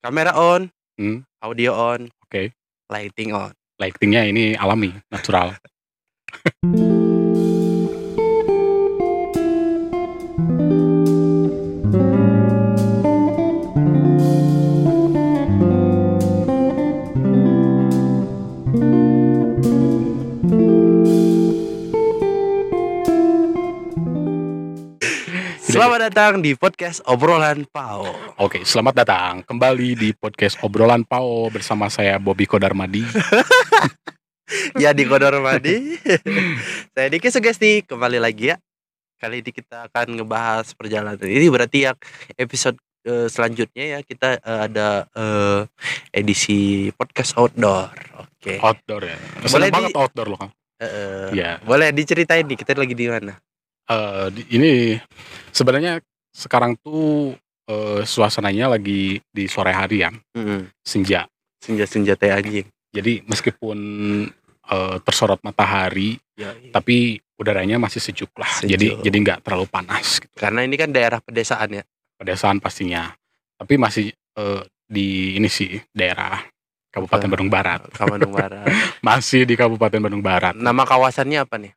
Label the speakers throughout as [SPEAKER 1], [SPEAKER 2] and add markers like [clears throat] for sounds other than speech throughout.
[SPEAKER 1] Kamera on,
[SPEAKER 2] Hmm,
[SPEAKER 1] audio on,
[SPEAKER 2] Oke.
[SPEAKER 1] lighting
[SPEAKER 2] [laughs]
[SPEAKER 1] on.
[SPEAKER 2] lightingnya ini alami, natural.
[SPEAKER 1] Selamat datang di podcast obrolan
[SPEAKER 2] [laughs]
[SPEAKER 1] Pao.
[SPEAKER 2] Oke, selamat datang kembali di podcast obrolan Pao bersama saya Bobby Kodarmadi.
[SPEAKER 1] ya di Kodor
[SPEAKER 2] [laughs]
[SPEAKER 1] Madi. Saya Diki Sugesti kembali lagi ya. Kali ini kita akan ngebahas perjalanan ini berarti ya episode eh, selanjutnya ya kita eh, ada eh, edisi podcast outdoor. Oke.
[SPEAKER 2] Outdoor ya.
[SPEAKER 1] Boleh
[SPEAKER 2] Seneng
[SPEAKER 1] di-
[SPEAKER 2] banget outdoor loh, Kang.
[SPEAKER 1] Eh, eh,
[SPEAKER 2] Iya.
[SPEAKER 1] Boleh diceritain nih kita lagi di mana?
[SPEAKER 2] Eh, di- ini sebenarnya sekarang tuh eh, suasananya lagi di sore hari ya,
[SPEAKER 1] Mm-mm.
[SPEAKER 2] senja.
[SPEAKER 1] Senja-senja teh anjing.
[SPEAKER 2] Jadi meskipun eh, tersorot matahari,
[SPEAKER 1] Ya,
[SPEAKER 2] tapi udaranya masih sejuk lah. Jadi
[SPEAKER 1] Sejuk.
[SPEAKER 2] jadi nggak terlalu panas gitu.
[SPEAKER 1] Karena ini kan daerah pedesaan ya.
[SPEAKER 2] pedesaan pastinya. Tapi masih eh, di ini sih daerah Kabupaten
[SPEAKER 1] Eh.
[SPEAKER 2] Bandung Barat.
[SPEAKER 1] Kamanung
[SPEAKER 2] [laughs]
[SPEAKER 1] Barat.
[SPEAKER 2] Masih di Kabupaten Bandung Barat.
[SPEAKER 1] Nama kawasannya apa nih?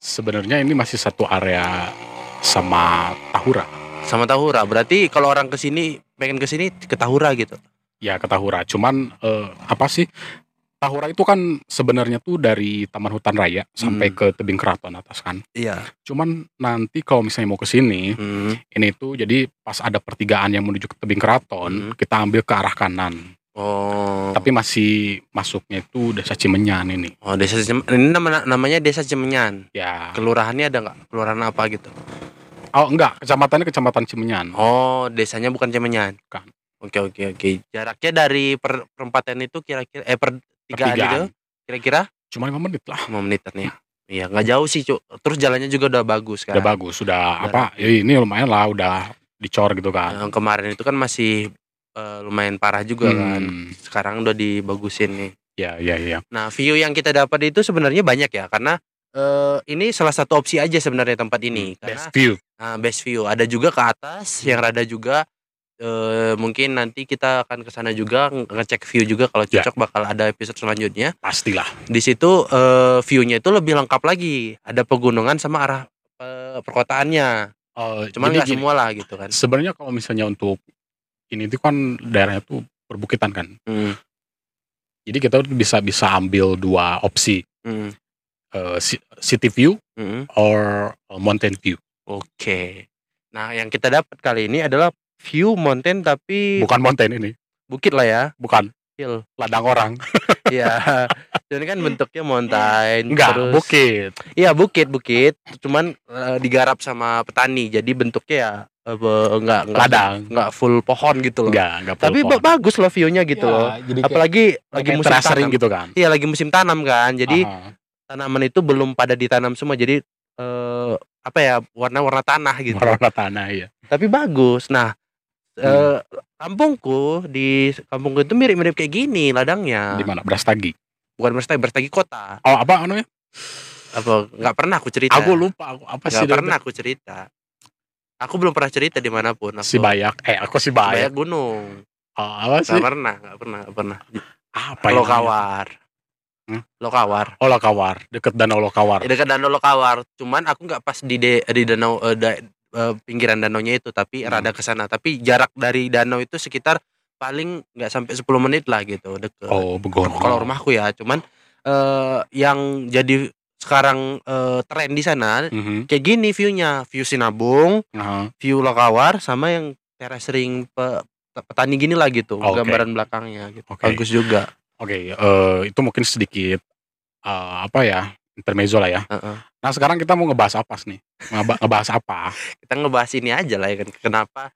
[SPEAKER 2] Sebenarnya ini masih satu area sama Tahura.
[SPEAKER 1] Sama Tahura. Berarti kalau orang kesini pengen kesini ke Tahura gitu.
[SPEAKER 2] Ya ke Tahura. Cuman eh, apa sih? Tahura itu kan sebenarnya tuh dari Taman Hutan Raya sampai
[SPEAKER 1] Hmm.
[SPEAKER 2] ke tebing keraton atas kan.
[SPEAKER 1] Iya.
[SPEAKER 2] Cuman nanti kalau misalnya mau ke sini,
[SPEAKER 1] Hmm.
[SPEAKER 2] ini tuh jadi pas ada pertigaan yang menuju ke tebing keraton,
[SPEAKER 1] Hmm.
[SPEAKER 2] kita ambil ke arah kanan.
[SPEAKER 1] Oh.
[SPEAKER 2] Tapi masih masuknya itu Desa Cimenyan ini.
[SPEAKER 1] Oh desa Jem- ini nama, namanya desa Jemenyan.
[SPEAKER 2] Ya.
[SPEAKER 1] Kelurahannya ada nggak? Kelurahan apa gitu?
[SPEAKER 2] Oh enggak, kecamatannya kecamatan Cimenyan.
[SPEAKER 1] Oh desanya bukan Jemenyan.
[SPEAKER 2] Bukan.
[SPEAKER 1] Oke oke oke. Jaraknya dari per, perempatan itu kira-kira eh per tiga
[SPEAKER 2] Pertigaan. Ah.
[SPEAKER 1] gitu kira-kira
[SPEAKER 2] Cuma 5 menit lah.
[SPEAKER 1] 5 menitan ya. Iya nggak jauh sih cuk. Terus jalannya juga udah bagus kan.
[SPEAKER 2] Udah bagus, sudah apa? ya ini lumayan lah, udah dicor gitu kan.
[SPEAKER 1] Yang kemarin itu kan masih eh, lumayan parah juga kan.
[SPEAKER 2] Hmm,
[SPEAKER 1] Sekarang udah dibagusin nih.
[SPEAKER 2] Ya, ya, ya.
[SPEAKER 1] Nah, view yang kita dapat itu sebenarnya banyak ya karena eh, ini salah satu opsi aja sebenarnya tempat ini karena
[SPEAKER 2] Hmm, Best view.
[SPEAKER 1] ah, best view. Ada juga ke atas yang rada juga eh, mungkin nanti kita akan ke sana juga nge- ngecek view juga kalau
[SPEAKER 2] Ya.
[SPEAKER 1] cocok bakal ada episode selanjutnya.
[SPEAKER 2] Pastilah.
[SPEAKER 1] Di situ eh, view-nya itu lebih lengkap lagi. Ada pegunungan sama arah eh, perkotaannya.
[SPEAKER 2] Eh,
[SPEAKER 1] Cuman
[SPEAKER 2] jadi
[SPEAKER 1] nggak
[SPEAKER 2] gini,
[SPEAKER 1] semua lah gitu kan.
[SPEAKER 2] Sebenarnya kalau misalnya untuk ini tuh kan daerahnya tuh perbukitan kan.
[SPEAKER 1] Hmm,
[SPEAKER 2] Jadi kita tuh bisa bisa ambil dua opsi,
[SPEAKER 1] hmm,
[SPEAKER 2] eh, ci- city view
[SPEAKER 1] hmm.
[SPEAKER 2] or eh, mountain view.
[SPEAKER 1] Oke. Nah, yang kita dapat kali ini adalah view mountain tapi
[SPEAKER 2] Bukan mountain ini,
[SPEAKER 1] bukit lah ya.
[SPEAKER 2] bukan
[SPEAKER 1] Hill.
[SPEAKER 2] ladang orang.
[SPEAKER 1] Iya. Dan kan bentuknya mountain.
[SPEAKER 2] Enggak,
[SPEAKER 1] terus-
[SPEAKER 2] bukit.
[SPEAKER 1] Iya bukit bukit. Cuman eh, digarap sama petani. Jadi bentuknya ya eh, be- enggak enggak
[SPEAKER 2] Ladang.
[SPEAKER 1] enggak full pohon gitu loh.
[SPEAKER 2] Enggak, enggak perlu
[SPEAKER 1] Tapi ba-
[SPEAKER 2] pohon.
[SPEAKER 1] bagus loh view-nya gitu
[SPEAKER 2] Ya,
[SPEAKER 1] loh.
[SPEAKER 2] Jadi kayak
[SPEAKER 1] Apalagi lagi
[SPEAKER 2] kayak
[SPEAKER 1] musim
[SPEAKER 2] terasa
[SPEAKER 1] tanam.
[SPEAKER 2] ring gitu kan.
[SPEAKER 1] Iya lagi musim tanam kan. Jadi
[SPEAKER 2] Aha.
[SPEAKER 1] tanaman itu belum pada ditanam semua. Jadi eh, apa ya warna-warna tanah gitu.
[SPEAKER 2] warna tanah ya.
[SPEAKER 1] Tapi bagus. Nah, eh,
[SPEAKER 2] Hmm.
[SPEAKER 1] kampungku di kampungku itu mirip-mirip kayak gini ladangnya.
[SPEAKER 2] Di mana? Brastagi.
[SPEAKER 1] Bukan berstagi, berstagi kota.
[SPEAKER 2] Oh, apa namanya?
[SPEAKER 1] Apa nggak pernah aku cerita.
[SPEAKER 2] Aku lupa aku apa sih
[SPEAKER 1] Gak
[SPEAKER 2] dia-
[SPEAKER 1] Iya. pernah aku cerita. Aku belum pernah cerita dimanapun. Aku
[SPEAKER 2] Si Bayak. Eh, aku si
[SPEAKER 1] banyak
[SPEAKER 2] Bayak.
[SPEAKER 1] gunung.
[SPEAKER 2] Oh, apa sih?
[SPEAKER 1] Gak pernah, gak pernah, gak pernah.
[SPEAKER 2] Apa ya namanya?
[SPEAKER 1] Lokawar.
[SPEAKER 2] Hmm?
[SPEAKER 1] Lokawar.
[SPEAKER 2] Oh, Lokawar. Dekat Danau Lokawar.
[SPEAKER 1] Ya, dekat danau Lokawar. Cuman aku nggak pas di de- di danau eh, da- eh, pinggiran danaunya itu, tapi
[SPEAKER 2] Hmm.
[SPEAKER 1] rada ke sana. Tapi jarak dari danau itu sekitar paling nggak sampai 10 menit lah gitu. Deket.
[SPEAKER 2] Oh, Begono.
[SPEAKER 1] Kalau rumahku ya, cuman eh, yang jadi sekarang eh, tren di sana
[SPEAKER 2] Mhm.
[SPEAKER 1] kayak gini view-nya, view Sinabung,
[SPEAKER 2] Aha.
[SPEAKER 1] view lokawar sama yang terasering pe- petani gini lah gitu
[SPEAKER 2] Oke.
[SPEAKER 1] gambaran belakangnya gitu.
[SPEAKER 2] Oke.
[SPEAKER 1] bagus juga
[SPEAKER 2] Oke, eh, itu mungkin sedikit eh, apa ya? Intermezzo lah ya.
[SPEAKER 1] Heeh.
[SPEAKER 2] Nah, sekarang kita mau ngebahas apa sih nih? Ngeba- ngebahas apa?
[SPEAKER 1] kita ngebahas ini aja lah ya kan kenapa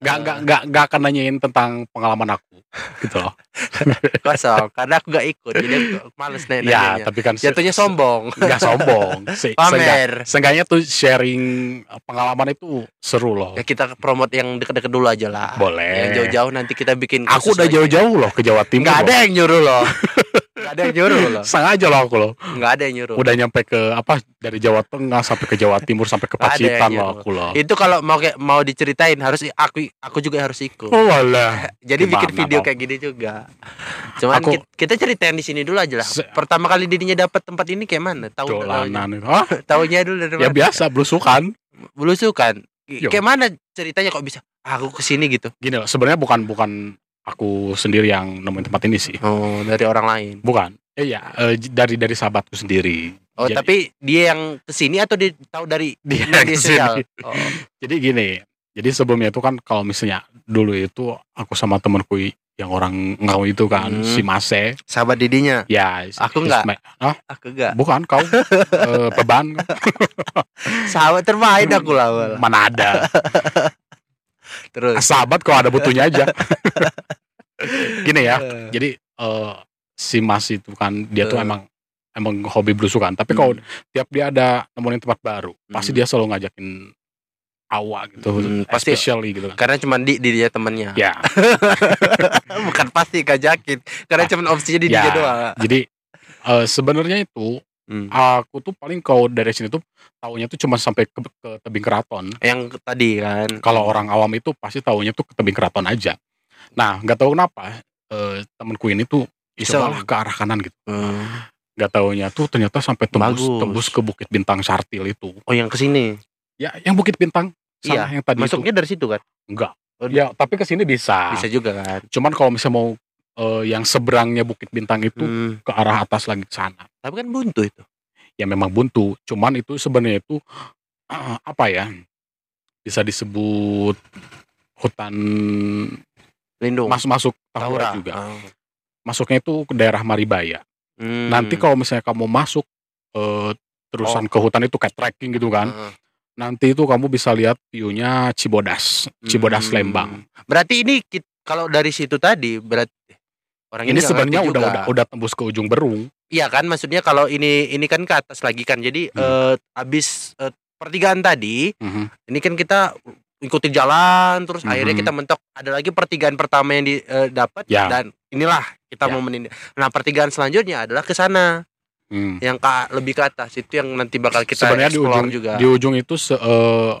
[SPEAKER 2] Gak,
[SPEAKER 1] eh,
[SPEAKER 2] gak, gak, gak akan nanyain tentang pengalaman aku gitu loh.
[SPEAKER 1] kosong karena aku gak ikut jadi
[SPEAKER 2] [laughs]
[SPEAKER 1] aku males [laughs] nanya
[SPEAKER 2] ya, Iya, tapi kan se-
[SPEAKER 1] jatuhnya sombong
[SPEAKER 2] Gak
[SPEAKER 1] [laughs]
[SPEAKER 2] sombong. Se- seenggak-
[SPEAKER 1] pamer
[SPEAKER 2] Seenggaknya tuh sharing eh, pengalaman itu seru loh.
[SPEAKER 1] ya kita promote yang deket-deket dulu aja lah
[SPEAKER 2] Boleh.
[SPEAKER 1] yang jauh-jauh nanti kita bikin
[SPEAKER 2] Aku udah jauh-jauh loh ke Jawa Timur.
[SPEAKER 1] nggak ada
[SPEAKER 2] [laughs] loh.
[SPEAKER 1] yang nyuruh loh Gak ada yang nyuruh loh.
[SPEAKER 2] Sengaja loh aku loh.
[SPEAKER 1] Gak ada yang nyuruh.
[SPEAKER 2] Udah nyampe ke apa dari Jawa Tengah sampai ke Jawa Timur sampai ke
[SPEAKER 1] Nggak ada yang
[SPEAKER 2] Pacitan loh
[SPEAKER 1] nyuruh.
[SPEAKER 2] aku loh.
[SPEAKER 1] Itu kalau mau kayak mau diceritain harus i- aku aku juga harus ikut.
[SPEAKER 2] Oh walah.
[SPEAKER 1] Jadi bikin
[SPEAKER 2] gimana
[SPEAKER 1] video
[SPEAKER 2] mau?
[SPEAKER 1] kayak gini juga. Cuman
[SPEAKER 2] Aku-
[SPEAKER 1] kit- kita, ceritain di sini dulu aja lah.
[SPEAKER 2] Se-
[SPEAKER 1] Pertama kali dirinya dapat tempat ini kayak mana? Tahu iya. [laughs] tahunya-
[SPEAKER 2] Dolanan. Hah?
[SPEAKER 1] tahunya dulu dari
[SPEAKER 2] Ya
[SPEAKER 1] mana?
[SPEAKER 2] biasa belusukan.
[SPEAKER 1] Belusukan.
[SPEAKER 2] Yo.
[SPEAKER 1] Kayak mana ceritanya kok bisa aku kesini gitu?
[SPEAKER 2] Gini loh, sebenarnya bukan bukan aku sendiri yang nemuin tempat ini sih.
[SPEAKER 1] Oh, dari orang lain.
[SPEAKER 2] Bukan. Eh ya, eh, j- dari dari sahabatku sendiri.
[SPEAKER 1] Oh,
[SPEAKER 2] Jadi-
[SPEAKER 1] tapi dia yang kesini atau dia tahu
[SPEAKER 2] [laughs]
[SPEAKER 1] dari
[SPEAKER 2] Dia
[SPEAKER 1] media
[SPEAKER 2] iya. kesini.
[SPEAKER 1] sosial? Oh,
[SPEAKER 2] Jadi gini, jadi sebelumnya itu kan kalau misalnya dulu itu aku sama temenku i- yang orang ngau itu kan
[SPEAKER 1] Hmm.
[SPEAKER 2] si Mase,
[SPEAKER 1] sahabat didinya.
[SPEAKER 2] ya si-
[SPEAKER 1] Aku
[SPEAKER 2] si
[SPEAKER 1] nggak.
[SPEAKER 2] Sme- Hah?
[SPEAKER 1] Aku gak.
[SPEAKER 2] bukan kau Eh, beban
[SPEAKER 1] Sahabat terbaik aku lah. Wal.
[SPEAKER 2] mana ada
[SPEAKER 1] Terus.
[SPEAKER 2] sahabat kau ada butuhnya
[SPEAKER 1] [laughs]
[SPEAKER 2] aja gini ya
[SPEAKER 1] Eh.
[SPEAKER 2] jadi eh, si Mas itu kan dia tuh
[SPEAKER 1] Eh.
[SPEAKER 2] emang emang hobi belusukan tapi kalau tiap dia ada nemuin tempat baru pasti
[SPEAKER 1] Hmm.
[SPEAKER 2] dia selalu ngajakin awak gitu
[SPEAKER 1] Hmm, pasti-
[SPEAKER 2] especially gitu kan
[SPEAKER 1] Karena cuma di dirinya temennya. [laughs]
[SPEAKER 2] ya
[SPEAKER 1] Bukan pasti kajakin. Karena cuma opsinya di
[SPEAKER 2] Ya.
[SPEAKER 1] dia doang.
[SPEAKER 2] jadi eh, sebenarnya itu
[SPEAKER 1] Hmm.
[SPEAKER 2] aku tuh paling kalau dari sini tuh taunya tuh cuma sampai ke, ke tebing keraton
[SPEAKER 1] Yang tadi kan.
[SPEAKER 2] kalau orang awam itu pasti taunya tuh ke tebing keraton aja nah nggak tahu kenapa eh, temanku ini tuh ya
[SPEAKER 1] Iseng.
[SPEAKER 2] cobalah ke arah kanan gitu
[SPEAKER 1] Hmm.
[SPEAKER 2] nggak taunya tuh ternyata sampai tembus
[SPEAKER 1] Bagus.
[SPEAKER 2] tembus ke bukit bintang sartil itu
[SPEAKER 1] Oh yang kesini.
[SPEAKER 2] ya yang bukit bintang sana yang tadi itu
[SPEAKER 1] Iya, Masuknya dari situ kan?
[SPEAKER 2] enggak
[SPEAKER 1] Oh,
[SPEAKER 2] ya tapi ke sini bisa.
[SPEAKER 1] Bisa juga kan.
[SPEAKER 2] cuman kalau misalnya mau eh, yang seberangnya bukit bintang itu
[SPEAKER 1] Hmm.
[SPEAKER 2] ke arah atas lagi ke sana
[SPEAKER 1] Tapi kan buntu itu.
[SPEAKER 2] ya memang buntu cuman itu sebenarnya itu eh, apa ya bisa disebut hutan
[SPEAKER 1] Lindung.
[SPEAKER 2] mas masuk Tahura
[SPEAKER 1] Taura
[SPEAKER 2] juga
[SPEAKER 1] Oh.
[SPEAKER 2] masuknya itu ke daerah Maribaya
[SPEAKER 1] Hmm. Oh.
[SPEAKER 2] nanti kalau misalnya kamu masuk eh, terusan ke hutan itu kayak trekking gitu kan
[SPEAKER 1] Heeh.
[SPEAKER 2] nanti itu kamu bisa lihat view-nya Cibodas Cibodas
[SPEAKER 1] Hmm.
[SPEAKER 2] Lembang
[SPEAKER 1] Berarti ini kit- kalau dari situ tadi berarti orang
[SPEAKER 2] ini
[SPEAKER 1] nggak
[SPEAKER 2] sebenarnya
[SPEAKER 1] ngerti
[SPEAKER 2] udah
[SPEAKER 1] juga.
[SPEAKER 2] udah udah tembus ke ujung berung
[SPEAKER 1] Iya kan maksudnya kalau ini ini kan ke atas lagi kan. Jadi
[SPEAKER 2] Hmm.
[SPEAKER 1] eh, abis eh, pertigaan tadi ini kan kita ikuti jalan terus
[SPEAKER 2] Mhm.
[SPEAKER 1] akhirnya kita mentok ada lagi pertigaan pertama yang di- eh, dapat
[SPEAKER 2] Ya.
[SPEAKER 1] dan inilah kita
[SPEAKER 2] Ya.
[SPEAKER 1] momen ini. Nah, pertigaan selanjutnya adalah ke sana
[SPEAKER 2] Hmm.
[SPEAKER 1] yang ke lebih ke atas itu yang nanti bakal Ya, kita
[SPEAKER 2] Sebenarnya di
[SPEAKER 1] explore
[SPEAKER 2] ujung-
[SPEAKER 1] juga.
[SPEAKER 2] di ujung itu se- eh,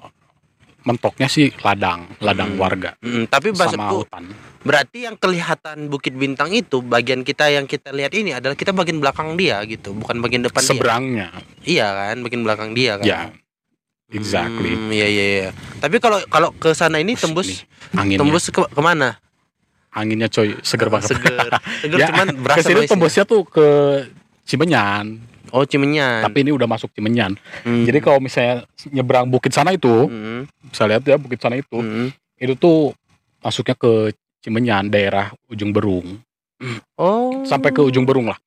[SPEAKER 2] mentoknya sih ladang ladang
[SPEAKER 1] Hmm.
[SPEAKER 2] warga
[SPEAKER 1] Mm, tapi
[SPEAKER 2] sama
[SPEAKER 1] maksudku
[SPEAKER 2] hutan
[SPEAKER 1] berarti yang kelihatan Bukit Bintang itu bagian kita yang kita lihat ini adalah kita bagian belakang dia gitu, bukan bagian depan dia.
[SPEAKER 2] seberangnya
[SPEAKER 1] Iya kan, bagian belakang dia kan.
[SPEAKER 2] ya exactly
[SPEAKER 1] Hmm, iya iya iya. Tapi kalau kalau ke sana ini
[SPEAKER 2] Terus
[SPEAKER 1] tembus
[SPEAKER 2] nih, anginnya
[SPEAKER 1] Hmm. tembus ke kemana?
[SPEAKER 2] anginnya coy seger banget [laughs]
[SPEAKER 1] Seger. Seger
[SPEAKER 2] Ya,
[SPEAKER 1] cuman berasa
[SPEAKER 2] ke sini
[SPEAKER 1] noise-nya.
[SPEAKER 2] tembusnya tuh ke Cimenyan
[SPEAKER 1] Oh Cimenyan.
[SPEAKER 2] tapi ini udah masuk Cimenyan
[SPEAKER 1] Hmm.
[SPEAKER 2] jadi kalau misalnya nyebrang bukit sana itu
[SPEAKER 1] Hmm,
[SPEAKER 2] bisa lihat ya bukit sana itu
[SPEAKER 1] hmm.
[SPEAKER 2] itu tuh masuknya ke Cimenyan daerah ujung berung
[SPEAKER 1] Oh.
[SPEAKER 2] sampai ke ujung berung lah.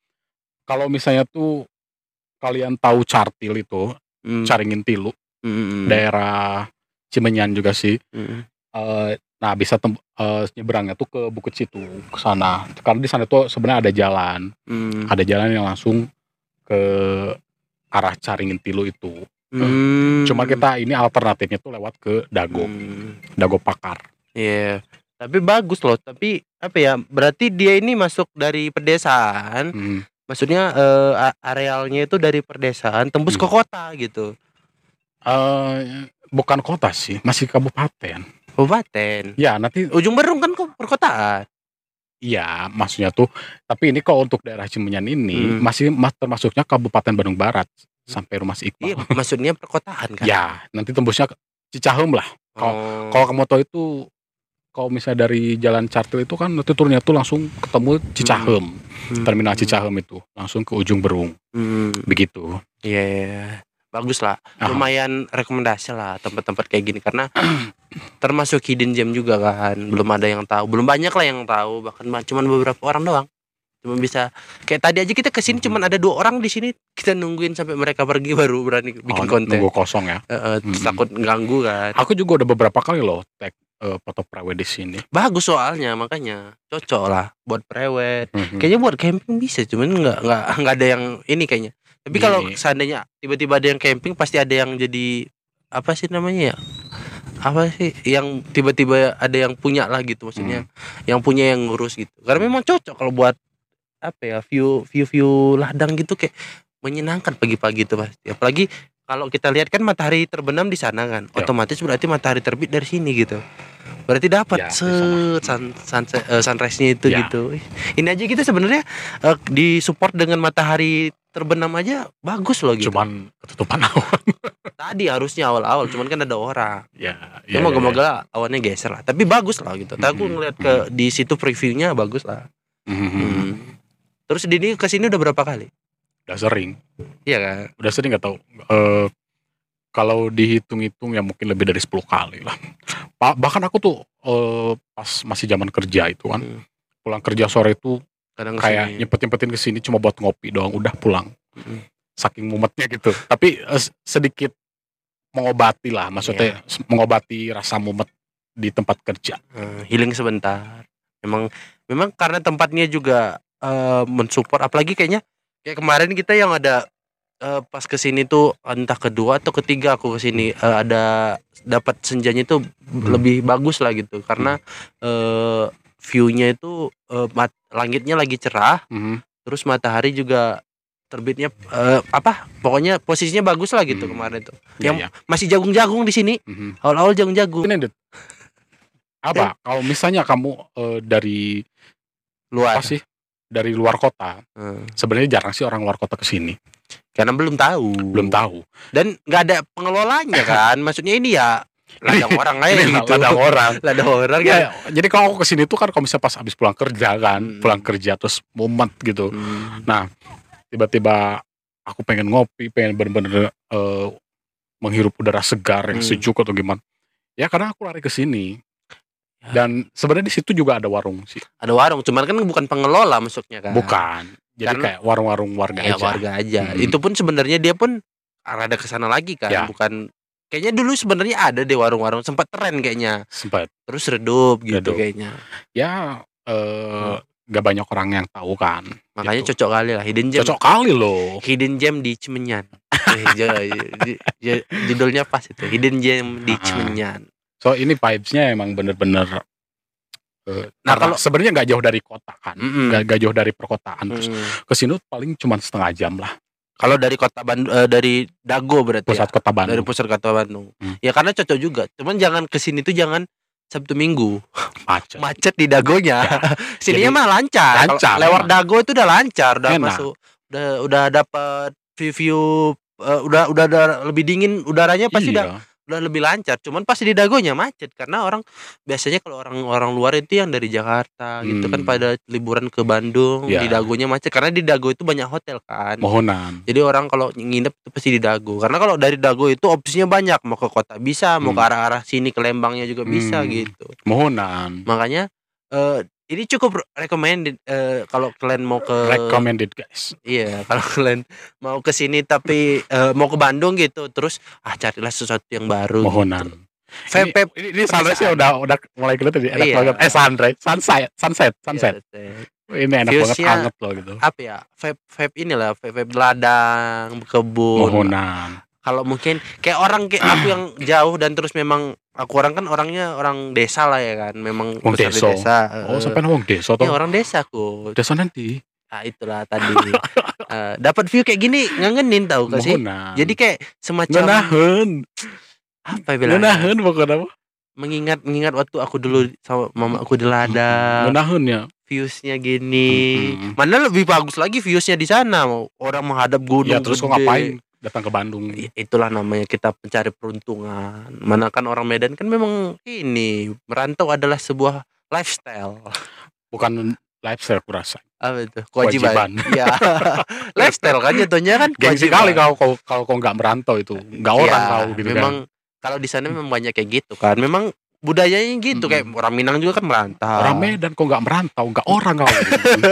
[SPEAKER 2] Kalau misalnya tuh kalian tahu Cartil itu,
[SPEAKER 1] Hmm,
[SPEAKER 2] Caringin Tilu,
[SPEAKER 1] hmm, hmm,
[SPEAKER 2] daerah Cimenyan juga sih.
[SPEAKER 1] hmm.
[SPEAKER 2] Eh, nah, bisa tem- eh, nyebrangnya tuh ke Bukit Situ ke sana. Karena di sana tuh sebenarnya ada jalan,
[SPEAKER 1] Hmm.
[SPEAKER 2] ada jalan yang langsung ke arah Caringin Tilu itu.
[SPEAKER 1] Hmm.
[SPEAKER 2] Cuma kita ini alternatifnya tuh lewat ke Dago,
[SPEAKER 1] Hmm.
[SPEAKER 2] Dago Pakar.
[SPEAKER 1] Iya. Tapi bagus loh. Tapi apa ya? Berarti dia ini masuk dari pedesaan.
[SPEAKER 2] Hmm.
[SPEAKER 1] Maksudnya eh, a- arealnya itu dari pedesaan tembus ke
[SPEAKER 2] Hmm.
[SPEAKER 1] kota gitu.
[SPEAKER 2] Eh, bukan kota sih, masih kabupaten.
[SPEAKER 1] Kabupaten.
[SPEAKER 2] Ya, nanti
[SPEAKER 1] Ujung Berung kan kok perkotaan.
[SPEAKER 2] Iya, maksudnya tuh. Tapi ini kalau untuk daerah Cimenyan ini
[SPEAKER 1] Hmm.
[SPEAKER 2] masih mas- termasuknya Kabupaten Bandung Barat sampai rumah si
[SPEAKER 1] Iya,
[SPEAKER 2] Iqbal.
[SPEAKER 1] maksudnya perkotaan kan.
[SPEAKER 2] Oh. Ya, nanti tembusnya ke Cicahem lah.
[SPEAKER 1] Oh.
[SPEAKER 2] Kalau kamu tahu itu kalau misalnya dari Jalan Cartil itu kan nanti turunnya tuh langsung ketemu Cicahem,
[SPEAKER 1] Hmm.
[SPEAKER 2] terminal Cicahem itu langsung ke ujung Berung
[SPEAKER 1] Hmm.
[SPEAKER 2] begitu. Nah,
[SPEAKER 1] Iya, iya, iya. bagus lah.
[SPEAKER 2] Aha.
[SPEAKER 1] Lumayan rekomendasi lah tempat-tempat kayak gini karena [clears throat] termasuk hidden gem juga kan. Belum ada yang tahu, belum banyak lah yang tahu. Bahkan ma- cuman beberapa orang doang. Cuma bisa kayak tadi aja kita kesini
[SPEAKER 2] Mhm.
[SPEAKER 1] cuman ada dua orang di sini kita nungguin sampai mereka pergi baru berani bikin
[SPEAKER 2] Oh,
[SPEAKER 1] konten.
[SPEAKER 2] nunggu kosong ya.
[SPEAKER 1] Eh, eh,
[SPEAKER 2] Mhm.
[SPEAKER 1] Takut ganggu kan.
[SPEAKER 2] Aku juga udah beberapa kali loh tag eh, foto prawe di sini.
[SPEAKER 1] Bagus soalnya makanya cocok lah buat prewed.
[SPEAKER 2] Mhm.
[SPEAKER 1] Kayaknya buat camping bisa cuman nggak nggak nggak ada yang ini kayaknya. Tapi
[SPEAKER 2] Gini.
[SPEAKER 1] kalau seandainya tiba-tiba ada yang camping pasti ada yang jadi apa sih namanya ya? Apa sih yang
[SPEAKER 2] Hmm.
[SPEAKER 1] tiba-tiba ada yang punya lah gitu maksudnya. Yang punya yang ngurus gitu. Karena memang cocok kalau buat apa ya view view view ladang gitu kayak menyenangkan pagi-pagi itu pasti apalagi kalau kita lihat kan matahari terbenam di sana kan
[SPEAKER 2] Ya.
[SPEAKER 1] otomatis berarti matahari terbit dari sini gitu berarti dapat
[SPEAKER 2] Ya, di
[SPEAKER 1] set sun, sunset- eh, sunrise-nya itu
[SPEAKER 2] Ya.
[SPEAKER 1] gitu Ih, ini aja kita sebenarnya eh, disupport dengan matahari terbenam aja bagus loh gitu
[SPEAKER 2] Cuman ketutupan awan.
[SPEAKER 1] tadi harusnya awal-awal cuman kan ada orang [laughs]
[SPEAKER 2] ya,
[SPEAKER 1] ya,
[SPEAKER 2] ya, ya, ya.
[SPEAKER 1] moga-moga awannya geser lah tapi bagus lah gitu Tadi aku
[SPEAKER 2] Mhm.
[SPEAKER 1] ngeliat ke di situ previewnya bagus lah
[SPEAKER 2] Mhm.
[SPEAKER 1] Hmm. terus Dini kesini udah berapa kali
[SPEAKER 2] Udah sering,
[SPEAKER 1] iya kan
[SPEAKER 2] udah sering nggak tahu. Eh, kalau dihitung-hitung ya mungkin lebih dari 10 kali lah. [laughs] Ba- Bahkan aku tuh eh, pas masih zaman kerja itu kan,
[SPEAKER 1] Hmm.
[SPEAKER 2] pulang kerja sore itu
[SPEAKER 1] kadang
[SPEAKER 2] kayak
[SPEAKER 1] kesini.
[SPEAKER 2] nyempet-nyempetin ke sini cuma buat ngopi doang udah pulang
[SPEAKER 1] Mhm.
[SPEAKER 2] saking mumetnya gitu tapi eh, s- sedikit mengobati lah maksudnya s- mengobati rasa mumet di tempat kerja
[SPEAKER 1] Eh, healing sebentar memang memang karena tempatnya juga eh, mensupport apalagi kayaknya kayak kemarin kita yang ada eh, pas kesini tuh entah kedua atau ketiga aku kesini eh, ada dapat senjanya itu
[SPEAKER 2] Hmm.
[SPEAKER 1] lebih bagus lah gitu karena eh, view-nya itu eh, mat- langitnya lagi cerah terus matahari juga terbitnya eh, apa pokoknya posisinya bagus lah gitu
[SPEAKER 2] Hmm.
[SPEAKER 1] kemarin tuh
[SPEAKER 2] Iya,
[SPEAKER 1] Yang-
[SPEAKER 2] iya.
[SPEAKER 1] masih jagung-jagung di sini
[SPEAKER 2] Mhm.
[SPEAKER 1] awal-awal jagung-jagung
[SPEAKER 2] Ini, Dit. apa kalau misalnya kamu eh, dari
[SPEAKER 1] luar
[SPEAKER 2] apa sih dari luar kota
[SPEAKER 1] Eh,
[SPEAKER 2] sebenarnya jarang sih orang luar kota ke sini
[SPEAKER 1] karena belum tahu
[SPEAKER 2] belum tahu
[SPEAKER 1] dan nggak ada pengelolanya kan maksudnya ini ya ladang
[SPEAKER 2] [laughs]
[SPEAKER 1] orang aja
[SPEAKER 2] Ini
[SPEAKER 1] gitu
[SPEAKER 2] ladang orang
[SPEAKER 1] [laughs] ladang orang ya
[SPEAKER 2] Ya, jadi kalau aku kesini tuh kan kalau misalnya pas abis pulang kerja kan
[SPEAKER 1] Hmm.
[SPEAKER 2] pulang kerja terus mumet gitu tiba-tiba aku pengen ngopi, pengen bener-bener eh, menghirup udara segar yang
[SPEAKER 1] Hmm.
[SPEAKER 2] sejuk atau gimana. Ya karena aku lari ke sini.
[SPEAKER 1] Ya.
[SPEAKER 2] Dan sebenarnya di situ juga ada warung sih.
[SPEAKER 1] ada warung cuman kan bukan pengelola maksudnya kan
[SPEAKER 2] Bukan. Jadi
[SPEAKER 1] Karena-
[SPEAKER 2] kayak warung-warung warga
[SPEAKER 1] ya
[SPEAKER 2] aja.
[SPEAKER 1] warga aja
[SPEAKER 2] Mm-mm.
[SPEAKER 1] itu pun sebenarnya dia pun ada ke sana lagi kan
[SPEAKER 2] Ya.
[SPEAKER 1] bukan kayaknya dulu sebenarnya ada deh warung-warung sempat tren kayaknya
[SPEAKER 2] Sempat.
[SPEAKER 1] terus redup gitu
[SPEAKER 2] Redup.
[SPEAKER 1] kayaknya
[SPEAKER 2] Ya
[SPEAKER 1] Hmm.
[SPEAKER 2] eh gak banyak orang yang tahu kan.
[SPEAKER 1] makanya
[SPEAKER 2] Gitu.
[SPEAKER 1] cocok kali lah hidden gem
[SPEAKER 2] Cocok kali loh.
[SPEAKER 1] hidden gem di Cimenyan Eh, j- j- j- judulnya pas itu hidden gem di
[SPEAKER 2] [laughs] Ah.
[SPEAKER 1] Cimenyan
[SPEAKER 2] So ini vibes-nya emang bener-bener eh,
[SPEAKER 1] Nah,
[SPEAKER 2] karena
[SPEAKER 1] kalau- Hmm.
[SPEAKER 2] sebenarnya nggak jauh dari kota kan,
[SPEAKER 1] Mm-mm.
[SPEAKER 2] nggak gitu. nggak jauh dari perkotaan. Terus
[SPEAKER 1] Mm.
[SPEAKER 2] ke sini paling cuma setengah jam lah
[SPEAKER 1] kalau dari kota Bandung eh, dari Dago berarti ya?
[SPEAKER 2] pusat kota Bandung.
[SPEAKER 1] dari pusat kota Bandung.
[SPEAKER 2] Hmm.
[SPEAKER 1] Ya karena cocok juga. Cuman jangan ke sini tuh jangan Sabtu Minggu.
[SPEAKER 2] Macet.
[SPEAKER 1] Macet di dagonya. [laughs] Sininya
[SPEAKER 2] Ya. Jadi-
[SPEAKER 1] mah lancar. Kalau
[SPEAKER 2] Lancar,
[SPEAKER 1] lewat
[SPEAKER 2] enak.
[SPEAKER 1] dago itu udah lancar, udah
[SPEAKER 2] Enak.
[SPEAKER 1] masuk udah udah dapat review eh, udah udah ada- lebih dingin udaranya pasti udah
[SPEAKER 2] Iya.
[SPEAKER 1] udah lebih lancar. Cuman pasti di dagonya macet karena orang biasanya kalau orang-orang luar itu yang dari Jakarta gitu kan
[SPEAKER 2] Hmm.
[SPEAKER 1] pada liburan ke Bandung
[SPEAKER 2] Ya.
[SPEAKER 1] di dagonya macet karena di dago itu banyak hotel kan.
[SPEAKER 2] mohonan
[SPEAKER 1] Jadi orang kalau nginep itu pasti di Dago. Karena kalau dari Dago itu opsinya banyak, mau ke kota bisa, mau
[SPEAKER 2] Hmm.
[SPEAKER 1] ke arah-arah sini ke Lembangnya juga bisa
[SPEAKER 2] Hmm.
[SPEAKER 1] gitu.
[SPEAKER 2] mohonan
[SPEAKER 1] Makanya eh ini cukup recommended eh, kalau kalian mau ke
[SPEAKER 2] recommended guys
[SPEAKER 1] iya, [laughs] kalau kalian mau ke sini tapi eh, mau ke Bandung gitu, terus ah carilah sesuatu yang baru. Gitu.
[SPEAKER 2] mohonan
[SPEAKER 1] Vape- vape-
[SPEAKER 2] ini, ini sunrise ya
[SPEAKER 1] pedesaan.
[SPEAKER 2] udah udah mulai kelihatan ya, enak
[SPEAKER 1] Iya.
[SPEAKER 2] banget eh sunrise sunset sunset sunset
[SPEAKER 1] iya,
[SPEAKER 2] ini enak banget
[SPEAKER 1] Views-nya-
[SPEAKER 2] anget loh gitu
[SPEAKER 1] apa ya? Vape vape inilah, vape vape ladang, kebun.
[SPEAKER 2] mohonan
[SPEAKER 1] kalau mungkin kayak orang kayak aku
[SPEAKER 2] [clears throat]
[SPEAKER 1] yang jauh dan terus memang aku orang kan orangnya orang desa lah ya kan memang
[SPEAKER 2] Orang
[SPEAKER 1] besar di
[SPEAKER 2] desa.
[SPEAKER 1] desa Eh,
[SPEAKER 2] oh sampai nawang
[SPEAKER 1] ya,
[SPEAKER 2] desa tuh
[SPEAKER 1] orang desa aku
[SPEAKER 2] desa nanti
[SPEAKER 1] ah itulah tadi
[SPEAKER 2] [laughs]
[SPEAKER 1] Eh, dapat view kayak gini ngangenin tau gak sih
[SPEAKER 2] mohonan
[SPEAKER 1] jadi kayak semacam
[SPEAKER 2] nenahen
[SPEAKER 1] apa ya bilangnya
[SPEAKER 2] nenahen pokoknya apa
[SPEAKER 1] mengingat mengingat waktu aku dulu sama mama aku di ladang
[SPEAKER 2] nenahen ya
[SPEAKER 1] viewsnya gini
[SPEAKER 2] Mm-mm.
[SPEAKER 1] mana lebih bagus lagi viewsnya di sana mau orang menghadap gunung
[SPEAKER 2] ya terus kok
[SPEAKER 1] gede.
[SPEAKER 2] ngapain datang ke Bandung
[SPEAKER 1] Ya, itulah namanya kita mencari peruntungan. Mana kan orang Medan kan memang ini merantau adalah sebuah lifestyle.
[SPEAKER 2] bukan lifestyle aku rasa
[SPEAKER 1] Apa itu? Kewajiban.
[SPEAKER 2] Kewajiban.
[SPEAKER 1] [laughs] Ya.
[SPEAKER 2] [laughs]
[SPEAKER 1] lifestyle kan jatuhnya kan
[SPEAKER 2] gengsi
[SPEAKER 1] kewajiban.
[SPEAKER 2] kali kau kau kalau kau nggak merantau itu nggak
[SPEAKER 1] Ya,
[SPEAKER 2] orang kau gitu
[SPEAKER 1] memang kalau di sana memang banyak kayak gitu kan. Memang budayanya gitu
[SPEAKER 2] Mm-mm.
[SPEAKER 1] kayak orang Minang juga kan merantau.
[SPEAKER 2] kan orang Medan kau nggak merantau nggak orang kau
[SPEAKER 1] [laughs]
[SPEAKER 2] gitu.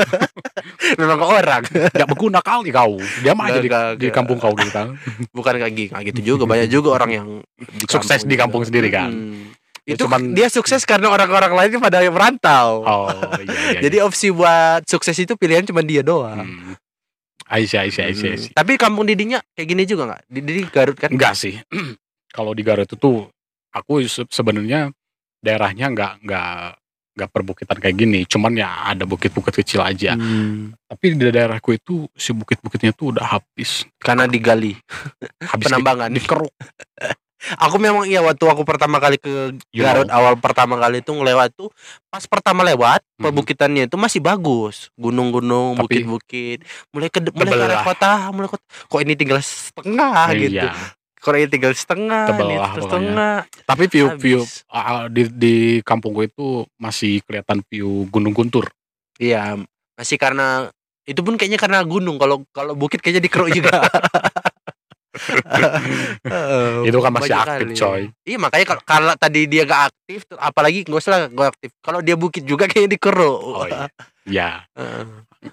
[SPEAKER 1] memang ke orang.
[SPEAKER 2] nggak berguna kali kau dia mah aja di,
[SPEAKER 1] Nggak,
[SPEAKER 2] di
[SPEAKER 1] nggak.
[SPEAKER 2] kampung kau gitu
[SPEAKER 1] [laughs]
[SPEAKER 2] kan
[SPEAKER 1] Bukan kayak gitu, nggak gitu juga. Banyak juga orang yang di
[SPEAKER 2] Sukses di kampung sendiri kan?
[SPEAKER 1] Mm.
[SPEAKER 2] Ya,
[SPEAKER 1] Itu
[SPEAKER 2] cuman-
[SPEAKER 1] dia sukses karena orang-orang lainnya pada yang merantau.
[SPEAKER 2] oh iya iya
[SPEAKER 1] Jadi opsi buat sukses itu pilihan cuma dia
[SPEAKER 2] iya.
[SPEAKER 1] doang.
[SPEAKER 2] Hmm. iya, Aisyah Aisyah Aisyah
[SPEAKER 1] Hmm.
[SPEAKER 2] Aisyah.
[SPEAKER 1] Tapi kampung didinya kayak gini juga nggak? Di, di Garut kan?
[SPEAKER 2] enggak sih [clears throat] kalau di Garut itu tuh aku se- sebenarnya daerahnya nggak nggak nggak perbukitan kayak gini cuman ya ada bukit-bukit kecil aja
[SPEAKER 1] Hmm.
[SPEAKER 2] tapi di daerahku itu si bukit-bukitnya tuh udah habis
[SPEAKER 1] Karena digali
[SPEAKER 2] habis
[SPEAKER 1] penambangan.
[SPEAKER 2] dikeruk
[SPEAKER 1] [laughs] Aku memang iya waktu aku pertama kali ke
[SPEAKER 2] you
[SPEAKER 1] Garut
[SPEAKER 2] know.
[SPEAKER 1] awal pertama kali itu ngelewat tuh pas pertama lewat
[SPEAKER 2] Mhm.
[SPEAKER 1] perbukitannya itu masih bagus gunung-gunung
[SPEAKER 2] Tapi-
[SPEAKER 1] bukit-bukit mulai ke mulai ke arah
[SPEAKER 2] Tebelah.
[SPEAKER 1] kota mulai kota kok ini tinggal setengah gitu
[SPEAKER 2] Iya.
[SPEAKER 1] kok ini tinggal setengah ini
[SPEAKER 2] Tebelah
[SPEAKER 1] terus
[SPEAKER 2] pokoknya.
[SPEAKER 1] setengah
[SPEAKER 2] tapi view
[SPEAKER 1] Habis.
[SPEAKER 2] view ah, ah, di di kampungku itu masih kelihatan view Gunung Guntur
[SPEAKER 1] iya masih karena itu pun kayaknya karena gunung kalau kalau bukit kayaknya dikeruk
[SPEAKER 2] [laughs]
[SPEAKER 1] juga Heeh,
[SPEAKER 2] itu kan masih
[SPEAKER 1] Oh, banyak
[SPEAKER 2] aktif
[SPEAKER 1] kali. [laughs]
[SPEAKER 2] coy
[SPEAKER 1] Iya makanya kalau, kalau tadi dia gak aktif tuh, apalagi gue salah gak aktif. Kalau dia bukit juga kayaknya dikeruk.
[SPEAKER 2] oh, iya. ya
[SPEAKER 1] Heeh.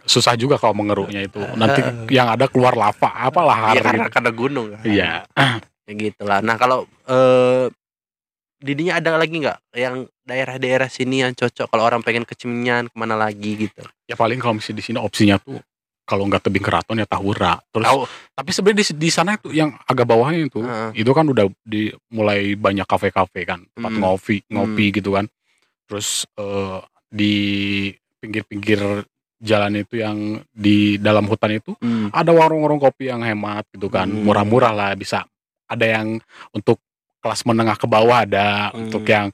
[SPEAKER 2] susah juga kalau mengeruknya itu nanti
[SPEAKER 1] Heeh.
[SPEAKER 2] yang ada keluar lava apalah
[SPEAKER 1] Eh. Iya karena
[SPEAKER 2] hari
[SPEAKER 1] karena gunung. kan.
[SPEAKER 2] gitu. iya
[SPEAKER 1] Ya gitu lah. Nah kalau eh didinya ada lagi nggak yang daerah-daerah sini yang cocok kalau orang pengen kecinyan kemana lagi gitu?
[SPEAKER 2] ya paling kalau misalnya di sini opsinya tuh kalau nggak tebing keraton ya tahura terus
[SPEAKER 1] Tahu? Ah.
[SPEAKER 2] tapi sebenarnya di, di sana itu yang agak bawahnya itu
[SPEAKER 1] Heeh.
[SPEAKER 2] itu kan udah di mulai banyak kafe-kafe kan tempat
[SPEAKER 1] Hmm.
[SPEAKER 2] ngopi ngopi gitu kan terus eh, di pinggir-pinggir jalan itu yang di dalam hutan itu
[SPEAKER 1] Hmm.
[SPEAKER 2] ada warung-warung kopi yang hemat gitu kan
[SPEAKER 1] Hmm.
[SPEAKER 2] murah-murah lah bisa ada yang untuk kelas menengah ke bawah ada
[SPEAKER 1] Hmm.
[SPEAKER 2] untuk yang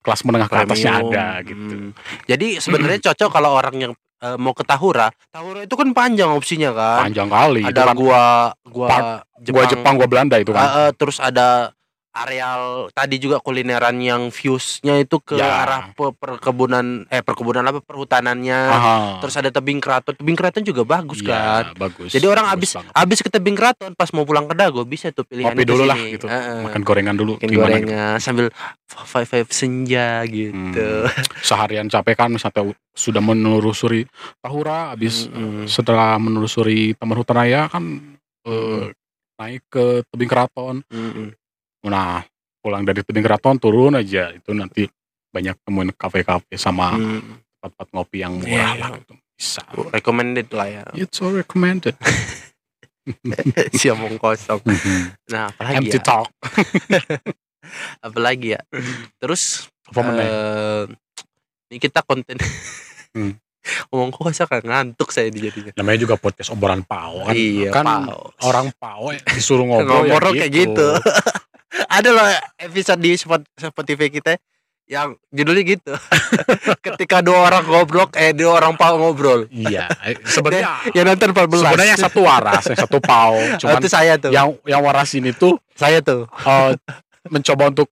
[SPEAKER 2] kelas menengah ke atasnya
[SPEAKER 1] Premium.
[SPEAKER 2] ada gitu
[SPEAKER 1] Hmm. Jadi sebenarnya cocok kalau orang yang eh, mau ke Tahura. Tahura itu kan panjang opsinya kan.
[SPEAKER 2] panjang kali itu
[SPEAKER 1] Ada
[SPEAKER 2] kan
[SPEAKER 1] gua gua
[SPEAKER 2] Park- gua Jepang gua Belanda itu kan
[SPEAKER 1] Eh, eh, terus ada areal tadi juga kulineran yang viewsnya itu ke
[SPEAKER 2] Ya.
[SPEAKER 1] arah pe- perkebunan eh perkebunan apa perhutanannya.
[SPEAKER 2] Aha.
[SPEAKER 1] Terus ada tebing keraton. Tebing keraton juga bagus
[SPEAKER 2] Iya,
[SPEAKER 1] kan.
[SPEAKER 2] bagus
[SPEAKER 1] Jadi orang
[SPEAKER 2] Bagus
[SPEAKER 1] abis
[SPEAKER 2] banget.
[SPEAKER 1] abis ke tebing keraton pas mau pulang ke Dago bisa tuh pilihan
[SPEAKER 2] Ngopi
[SPEAKER 1] ke
[SPEAKER 2] dulu lah,
[SPEAKER 1] sini.
[SPEAKER 2] gitu.
[SPEAKER 1] Heeh.
[SPEAKER 2] makan gorengan dulu
[SPEAKER 1] Makan
[SPEAKER 2] gimana gitu.
[SPEAKER 1] gorengan sambil five five senja gitu. [laughs]
[SPEAKER 2] Hmm. Seharian capek kan sampai u- sudah menelusuri Tahura habis
[SPEAKER 1] Mm-mm.
[SPEAKER 2] setelah menelusuri Taman Hutan Raya kan eh,
[SPEAKER 1] Mm-mm.
[SPEAKER 2] naik ke tebing keraton.
[SPEAKER 1] Mm-mm.
[SPEAKER 2] Nah, pulang dari tebing keraton turun aja itu nanti banyak temuin kafe-kafe sama
[SPEAKER 1] Mm.
[SPEAKER 2] tempat-tempat ngopi yang murah
[SPEAKER 1] Iya.
[SPEAKER 2] lah gitu. Bisa.
[SPEAKER 1] Recommended lah
[SPEAKER 2] [laughs]
[SPEAKER 1] ya.
[SPEAKER 2] It's all recommended.
[SPEAKER 1] Si omong kosong. Nah, apalagi
[SPEAKER 2] Empty
[SPEAKER 1] ya?
[SPEAKER 2] talk.
[SPEAKER 1] Apalagi ya? Terus
[SPEAKER 2] Apa meneh?
[SPEAKER 1] eh, ini kita konten
[SPEAKER 2] Hmm.
[SPEAKER 1] [laughs] omong kosong kan ngantuk saya di jadinya.
[SPEAKER 2] Namanya juga podcast obrolan pao kan.
[SPEAKER 1] iya,
[SPEAKER 2] kan
[SPEAKER 1] Paus.
[SPEAKER 2] orang pao ya,
[SPEAKER 1] [laughs]
[SPEAKER 2] disuruh ngobrol
[SPEAKER 1] Ngomong
[SPEAKER 2] ya
[SPEAKER 1] kayak gitu. [laughs] Ada loh episode di Spot- Spotify kita yang judulnya gitu. [laughs] Ketika dua orang ngobrol eh dua orang pau ngobrol.
[SPEAKER 2] Iya, eh,
[SPEAKER 1] [laughs]
[SPEAKER 2] sebenarnya
[SPEAKER 1] Ya nonton 14.
[SPEAKER 2] sebenarnya yang satu waras, yang satu
[SPEAKER 1] [laughs]
[SPEAKER 2] pau,
[SPEAKER 1] Oh,
[SPEAKER 2] cuman
[SPEAKER 1] itu saya tuh.
[SPEAKER 2] yang yang waras ini tuh
[SPEAKER 1] Saya tuh.
[SPEAKER 2] eh, mencoba untuk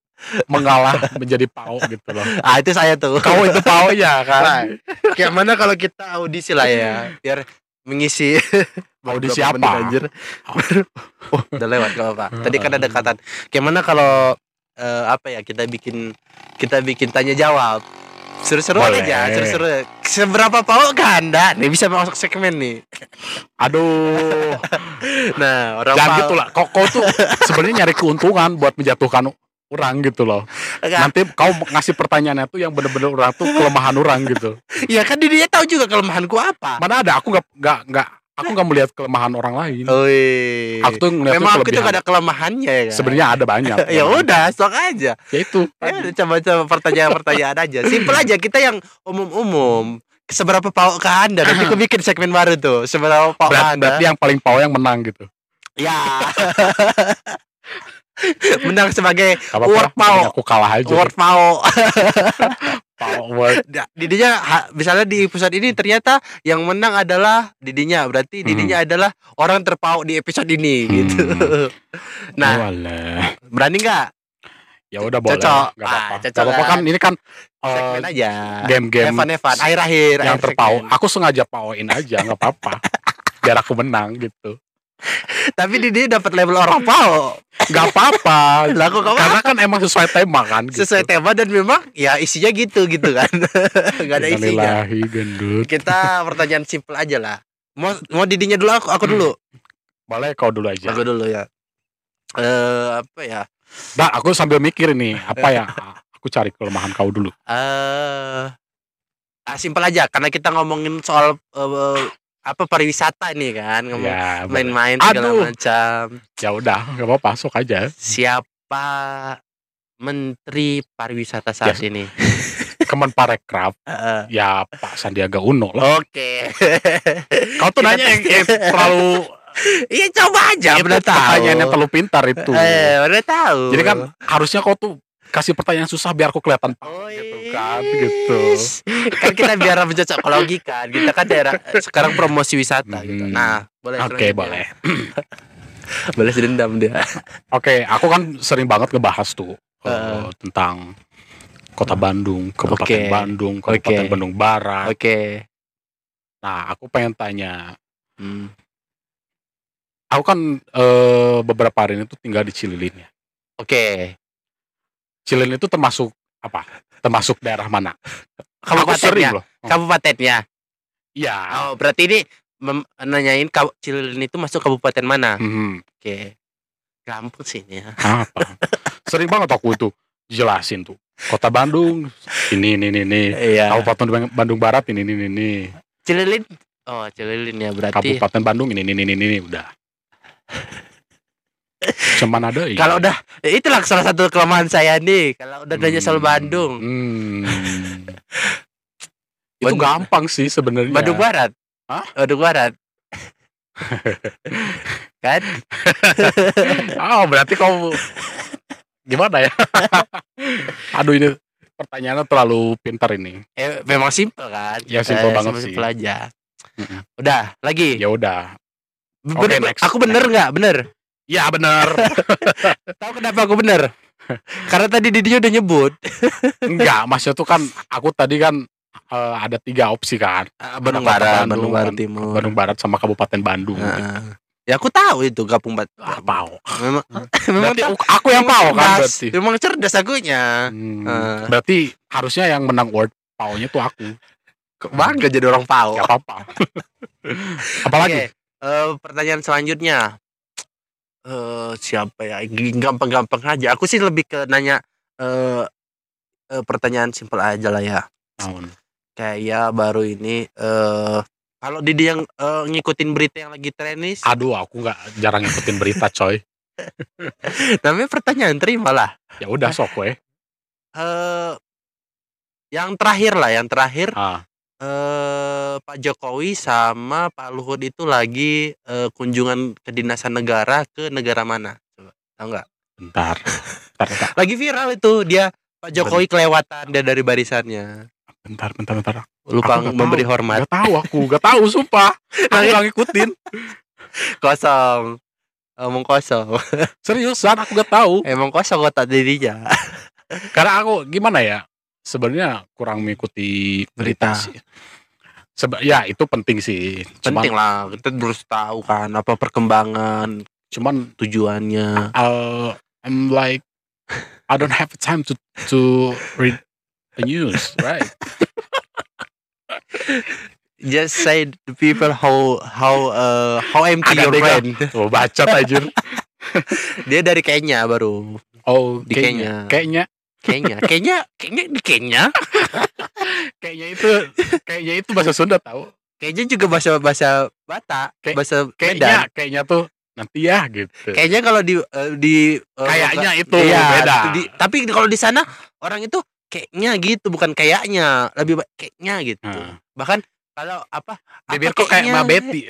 [SPEAKER 2] mengalah menjadi pau gitu loh.
[SPEAKER 1] Ah, itu saya tuh.
[SPEAKER 2] Kau itu pau
[SPEAKER 1] Nah,
[SPEAKER 2] ya kan?
[SPEAKER 1] kayak mana kalau kita audisi lah ya, biar mengisi
[SPEAKER 2] [laughs] Audisi
[SPEAKER 1] Berapa menit,
[SPEAKER 2] apa? [laughs]
[SPEAKER 1] anjir? oh, udah lewat gak apa-apa. Tadi kan
[SPEAKER 2] Hmm.
[SPEAKER 1] ada kataan. Kayak mana kalau eh, apa ya kita bikin kita bikin tanya jawab. Seru-seru
[SPEAKER 2] Boleh.
[SPEAKER 1] aja, seru-seru. Seberapa pau ke Anda? Nih bisa masuk segmen nih.
[SPEAKER 2] Aduh,
[SPEAKER 1] Nah, orang
[SPEAKER 2] jangan
[SPEAKER 1] pau-
[SPEAKER 2] gitu lah. Kok kau tuh sebenarnya nyari keuntungan buat menjatuhkan orang gitu loh.
[SPEAKER 1] Enggak.
[SPEAKER 2] Nanti kau ngasih pertanyaannya tuh yang bener-bener orang tuh kelemahan orang gitu.
[SPEAKER 1] Ya kan dia tahu juga kelemahanku apa.
[SPEAKER 2] Mana ada aku nggak nggak nggak aku nggak melihat kelemahan orang lain.
[SPEAKER 1] Oi.
[SPEAKER 2] Aku tuh ngeliat
[SPEAKER 1] Memang aku tuh
[SPEAKER 2] kelebihan.
[SPEAKER 1] gak ada kelemahannya ya kan.
[SPEAKER 2] Sebenarnya ada banyak.
[SPEAKER 1] [laughs] ya udah, sok aja.
[SPEAKER 2] Ya itu.
[SPEAKER 1] Ya udah coba-coba
[SPEAKER 2] [laughs]
[SPEAKER 1] pertanyaan-pertanyaan aja. Simpel aja kita yang umum-umum. Seberapa pau ke Anda? Nanti aku bikin segmen baru tuh. Seberapa pau
[SPEAKER 2] Berat-
[SPEAKER 1] Anda?
[SPEAKER 2] berarti yang paling pau yang menang gitu.
[SPEAKER 1] Ya. Menang sebagai
[SPEAKER 2] Gak apa-apa
[SPEAKER 1] Word
[SPEAKER 2] lah, mending
[SPEAKER 1] pau.
[SPEAKER 2] Aku kalah aja.
[SPEAKER 1] word pau.
[SPEAKER 2] pau. Word.
[SPEAKER 1] Nah, Didinya ha- misalnya di episode ini ternyata yang menang adalah Didinya.
[SPEAKER 2] Hmm.
[SPEAKER 1] Berarti Didinya adalah orang terpau di episode ini gitu.
[SPEAKER 2] Hmm.
[SPEAKER 1] Nah,
[SPEAKER 2] Iya. Walah.
[SPEAKER 1] berani nggak?
[SPEAKER 2] ya udah boleh.
[SPEAKER 1] Cocok.
[SPEAKER 2] Gak apa-apa.
[SPEAKER 1] Ah, cocok Ah.
[SPEAKER 2] Gak apa-apa kan ini kan eh,
[SPEAKER 1] Segmen aja.
[SPEAKER 2] game-game
[SPEAKER 1] Evan-Evan akhir-akhir
[SPEAKER 2] yang
[SPEAKER 1] akhir
[SPEAKER 2] terpau.
[SPEAKER 1] segmen.
[SPEAKER 2] Aku sengaja pauin aja, nggak apa-apa. [laughs] Biar aku menang gitu.
[SPEAKER 1] Tapi Didi dapat label orang pau.
[SPEAKER 2] Gak apa-apa.
[SPEAKER 1] [laughs] Lah, kok nggak
[SPEAKER 2] Karena kan emang sesuai tema kan. Gitu.
[SPEAKER 1] sesuai tema dan memang ya isinya gitu gitu
[SPEAKER 2] [laughs]
[SPEAKER 1] kan nggak ada isinya
[SPEAKER 2] Innalillahi, gendut.
[SPEAKER 1] kita pertanyaan simpel aja lah mau mau didinya dulu aku
[SPEAKER 2] Hmm,
[SPEAKER 1] aku dulu
[SPEAKER 2] Boleh kau dulu aja.
[SPEAKER 1] aku dulu ya eh apa ya
[SPEAKER 2] Nah, aku sambil mikir nih apa
[SPEAKER 1] [laughs]
[SPEAKER 2] ya. Aku cari kelemahan kau dulu.
[SPEAKER 1] eh ah, simpel aja karena kita ngomongin soal eh, apa pariwisata nih kan ngomong
[SPEAKER 2] Ya, boleh.
[SPEAKER 1] main-main
[SPEAKER 2] Aduh.
[SPEAKER 1] segala macam
[SPEAKER 2] ya udah, nggak apa-apa, sok aja. Ya.
[SPEAKER 1] siapa menteri pariwisata saat ini
[SPEAKER 2] Kemenparekraf
[SPEAKER 1] Heeh.
[SPEAKER 2] ya Pak Sandiaga Uno lah.
[SPEAKER 1] Oke. [laughs]
[SPEAKER 2] Kau tuh nanya yang, yang terlalu
[SPEAKER 1] Iya coba aja.
[SPEAKER 2] itu
[SPEAKER 1] Udah tahu.
[SPEAKER 2] pertanyaan yang terlalu pintar itu.
[SPEAKER 1] Eh, udah tahu.
[SPEAKER 2] Jadi kan harusnya kau tuh kasih pertanyaan susah biar aku kelihatan Pak.
[SPEAKER 1] Oh,
[SPEAKER 2] gitu kan gitu.
[SPEAKER 1] kan kita biar bercocok logi kan kita kan daerah sekarang promosi wisata gitu
[SPEAKER 2] Hmm.
[SPEAKER 1] nah boleh selanjutnya.
[SPEAKER 2] Oke, boleh.
[SPEAKER 1] boleh dendam dia
[SPEAKER 2] Oke, aku kan sering banget ngebahas tuh eh,
[SPEAKER 1] Heeh.
[SPEAKER 2] tentang Kota Bandung, Kabupaten
[SPEAKER 1] Oke.
[SPEAKER 2] Bandung, Kabupaten
[SPEAKER 1] Oke.
[SPEAKER 2] Bandung Barat.
[SPEAKER 1] oke
[SPEAKER 2] Nah, aku pengen tanya,
[SPEAKER 1] Hmm.
[SPEAKER 2] aku kan eh, beberapa hari ini tuh tinggal di Cililin ya.
[SPEAKER 1] oke
[SPEAKER 2] Cililin itu termasuk apa? Termasuk daerah mana? Aku
[SPEAKER 1] kabupatennya
[SPEAKER 2] sering loh.
[SPEAKER 1] kabupatennya
[SPEAKER 2] Iya.
[SPEAKER 1] ya? oh berarti ini mem- nanyain kau Cililin itu masuk kabupaten mana
[SPEAKER 2] Mhm.
[SPEAKER 1] oke gampang sih ini ya
[SPEAKER 2] Apa? sering banget aku itu jelasin tuh. Kota Bandung ini ini ini ini.
[SPEAKER 1] iya
[SPEAKER 2] Kabupaten Bang- Bandung Barat ini ini ini, ini.
[SPEAKER 1] Cililin oh Cililin ya berarti
[SPEAKER 2] Kabupaten Bandung ini ini ini ini, ini. udah. Cuman ada ini.
[SPEAKER 1] kalau udah itulah salah satu kelemahan saya nih kalau udah nanya soal
[SPEAKER 2] Hmm,
[SPEAKER 1] Bandung
[SPEAKER 2] hmm. itu
[SPEAKER 1] Bandung-
[SPEAKER 2] gampang sih sebenarnya.
[SPEAKER 1] Bandung Barat
[SPEAKER 2] Iya. Hah?
[SPEAKER 1] Bandung
[SPEAKER 2] [laughs]
[SPEAKER 1] Barat kan
[SPEAKER 2] Oh berarti kau
[SPEAKER 1] [laughs]
[SPEAKER 2] gimana ya? Aduh ini pertanyaannya terlalu pintar ini.
[SPEAKER 1] eh, memang simpel kan
[SPEAKER 2] Ya, simpel banget sih.
[SPEAKER 1] simpel aja
[SPEAKER 2] Mm-mm.
[SPEAKER 1] udah lagi
[SPEAKER 2] Ya udah.
[SPEAKER 1] B-
[SPEAKER 2] Oke,
[SPEAKER 1] bener-
[SPEAKER 2] next.
[SPEAKER 1] aku bener nggak bener
[SPEAKER 2] Ya benar.
[SPEAKER 1] tahu kenapa aku bener karena tadi Didi udah nyebut
[SPEAKER 2] [laughs] Enggak, maksudnya tuh kan aku tadi kan eh, ada tiga opsi kan.
[SPEAKER 1] "Ah, Bandung
[SPEAKER 2] Kota
[SPEAKER 1] Barat
[SPEAKER 2] Bandung,
[SPEAKER 1] Bandung Barat
[SPEAKER 2] Ban-
[SPEAKER 1] Timur
[SPEAKER 2] Bandung Barat sama Kabupaten Bandung.
[SPEAKER 1] Heeh. ya aku tahu itu gabung bat
[SPEAKER 2] Ah, pau.
[SPEAKER 1] memang [laughs] memang
[SPEAKER 2] Berarti
[SPEAKER 1] tahu.
[SPEAKER 2] aku- aku yang pau kan
[SPEAKER 1] Cerdas.
[SPEAKER 2] berarti.
[SPEAKER 1] memang cerdas akunya
[SPEAKER 2] Hmm,
[SPEAKER 1] Eh.
[SPEAKER 2] Berarti harusnya yang menang world paunya tuh aku.
[SPEAKER 1] bangga jadi orang pau [laughs]
[SPEAKER 2] Gak apa-apa. Apalagi?
[SPEAKER 1] Oke, eh, pertanyaan selanjutnya. eh siapa ya? G- Gampang-gampang aja. Aku sih lebih ke nanya eh eh, pertanyaan simpel aja lah ya.
[SPEAKER 2] Tahun.
[SPEAKER 1] Kayak ya baru ini eh kalau Didi yang eh, ngikutin berita yang lagi tren nih,
[SPEAKER 2] Aduh, aku nggak jarang ngikutin berita, coy.
[SPEAKER 1] [laughs] namanya pertanyaan terimalah.
[SPEAKER 2] Ya udah sok we.
[SPEAKER 1] Eh yang terakhir lah, yang terakhir
[SPEAKER 2] Ah,
[SPEAKER 1] eh Pak Jokowi sama Pak Luhut itu lagi eh, kunjungan kedinasan negara ke negara mana? Coba tahu nggak?
[SPEAKER 2] bentar. Bentar, bentar,
[SPEAKER 1] lagi viral itu dia Pak Jokowi kelewatan dia dari barisannya
[SPEAKER 2] bentar, bentar, bentar.
[SPEAKER 1] lupa
[SPEAKER 2] Aku nggak
[SPEAKER 1] memberi hormat
[SPEAKER 2] Gak tahu aku, gak tahu sumpah. Aku
[SPEAKER 1] Makanya-
[SPEAKER 2] gak ngikutin.
[SPEAKER 1] kosong emang kosong [laughs]
[SPEAKER 2] Seriusan, aku gak tahu.
[SPEAKER 1] emang kosong otak dirinya
[SPEAKER 2] Karena aku gimana ya? Sebenarnya kurang mengikuti
[SPEAKER 1] Berita.
[SPEAKER 2] berita. sih. Sebe- ya itu penting sih. Cuman,
[SPEAKER 1] penting lah kita harus tahu kan apa perkembangan
[SPEAKER 2] Cuman
[SPEAKER 1] tujuannya
[SPEAKER 2] I'll, I'm like I don't have time to to read the news, right?
[SPEAKER 1] just say the people how how uh, how empty
[SPEAKER 2] Ada
[SPEAKER 1] your
[SPEAKER 2] deh,
[SPEAKER 1] [laughs] brain
[SPEAKER 2] Tuh baca tajir.
[SPEAKER 1] [laughs] dia dari Kenya baru
[SPEAKER 2] Oh,
[SPEAKER 1] Di
[SPEAKER 2] kayaknya. Kayaknya
[SPEAKER 1] Kenya Kenya Kenya di Kenya
[SPEAKER 2] kayaknya itu kayaknya itu bahasa Sunda tahu.
[SPEAKER 1] Kenya juga bahasa bahasa Batak
[SPEAKER 2] Kayak-
[SPEAKER 1] bahasa Medan
[SPEAKER 2] Kayaknya kayaknya tuh nanti ya gitu.
[SPEAKER 1] kayaknya kalau di eh, di eh,
[SPEAKER 2] Kayaknya
[SPEAKER 1] loka-
[SPEAKER 2] itu beda.
[SPEAKER 1] di- tapi kalau di sana orang itu kayaknya gitu bukan kayaknya lebih ba- kayaknya gitu
[SPEAKER 2] Nah.
[SPEAKER 1] bahkan kalau apa
[SPEAKER 2] Bibir
[SPEAKER 1] apa
[SPEAKER 2] kok kayak Mbak Betty.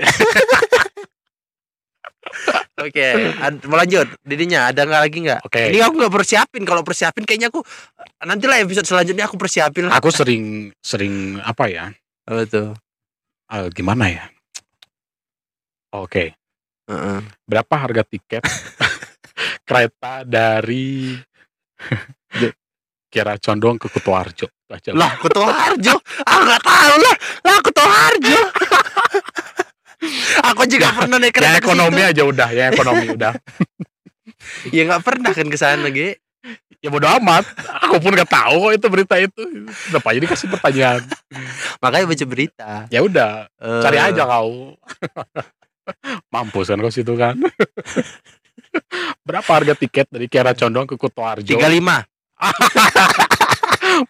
[SPEAKER 1] oke ad- mau lanjut didinya ada nggak lagi nggak
[SPEAKER 2] Oke.
[SPEAKER 1] ini aku nggak persiapin kalau persiapin kayaknya aku nanti lah episode selanjutnya aku persiapin lah
[SPEAKER 2] Aku sering sering apa ya?
[SPEAKER 1] apa tuh
[SPEAKER 2] eh, gimana ya? Oke,
[SPEAKER 1] Heeh.
[SPEAKER 2] berapa harga
[SPEAKER 1] [laughs]
[SPEAKER 2] tiket kereta dari Kira Condong ke Kutoarjo? Itu aja Ya, lah.
[SPEAKER 1] lah ketua harjo aku nggak tahu lah lah ketua
[SPEAKER 2] [laughs]
[SPEAKER 1] harjo aku juga pernah naik kereta
[SPEAKER 2] Ya
[SPEAKER 1] ke situ.
[SPEAKER 2] ekonomi aja udah, ya ekonomi udah.
[SPEAKER 1] ya nggak pernah kan ke sana Ge.
[SPEAKER 2] Ya bodo amat. Aku pun gak tahu kok itu berita itu. Kenapa jadi kasih pertanyaan?
[SPEAKER 1] makanya baca berita
[SPEAKER 2] Ya udah,
[SPEAKER 1] Eh,
[SPEAKER 2] cari aja kau. [laughs] Mampus kan kau situ
[SPEAKER 1] [laughs]
[SPEAKER 2] kan. Berapa harga tiket dari Kiara Condong ke Kutoarjo?
[SPEAKER 1] tiga lima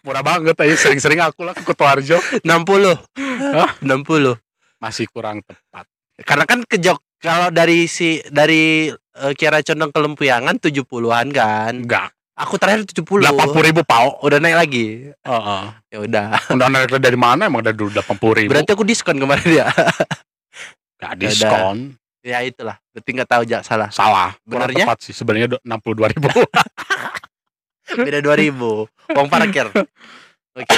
[SPEAKER 2] Murah banget aja sering-sering aku lah ke Kutoarjo.
[SPEAKER 1] enam puluh
[SPEAKER 2] Hah?
[SPEAKER 1] enam puluh
[SPEAKER 2] Masih kurang tepat.
[SPEAKER 1] karena kan ke Jog kalau dari si dari eh, Kiara Condong ke Lempuyangan tujuh puluhan kan
[SPEAKER 2] Enggak,
[SPEAKER 1] Aku terakhir 70
[SPEAKER 2] delapan puluh ribu pau
[SPEAKER 1] Udah naik lagi
[SPEAKER 2] Heeh.
[SPEAKER 1] Ya udah
[SPEAKER 2] udah naik dari mana emang dari dulu delapan puluh ribu
[SPEAKER 1] Berarti aku diskon kemarin ya [laughs]
[SPEAKER 2] Gak diskon
[SPEAKER 1] Ya itulah Berarti nggak tahu jak salah
[SPEAKER 2] salah kurang
[SPEAKER 1] Benernya?
[SPEAKER 2] tepat sih sebenarnya enam puluh dua ribu
[SPEAKER 1] Beda 2000 Uang
[SPEAKER 2] [laughs]
[SPEAKER 1] parkir Oke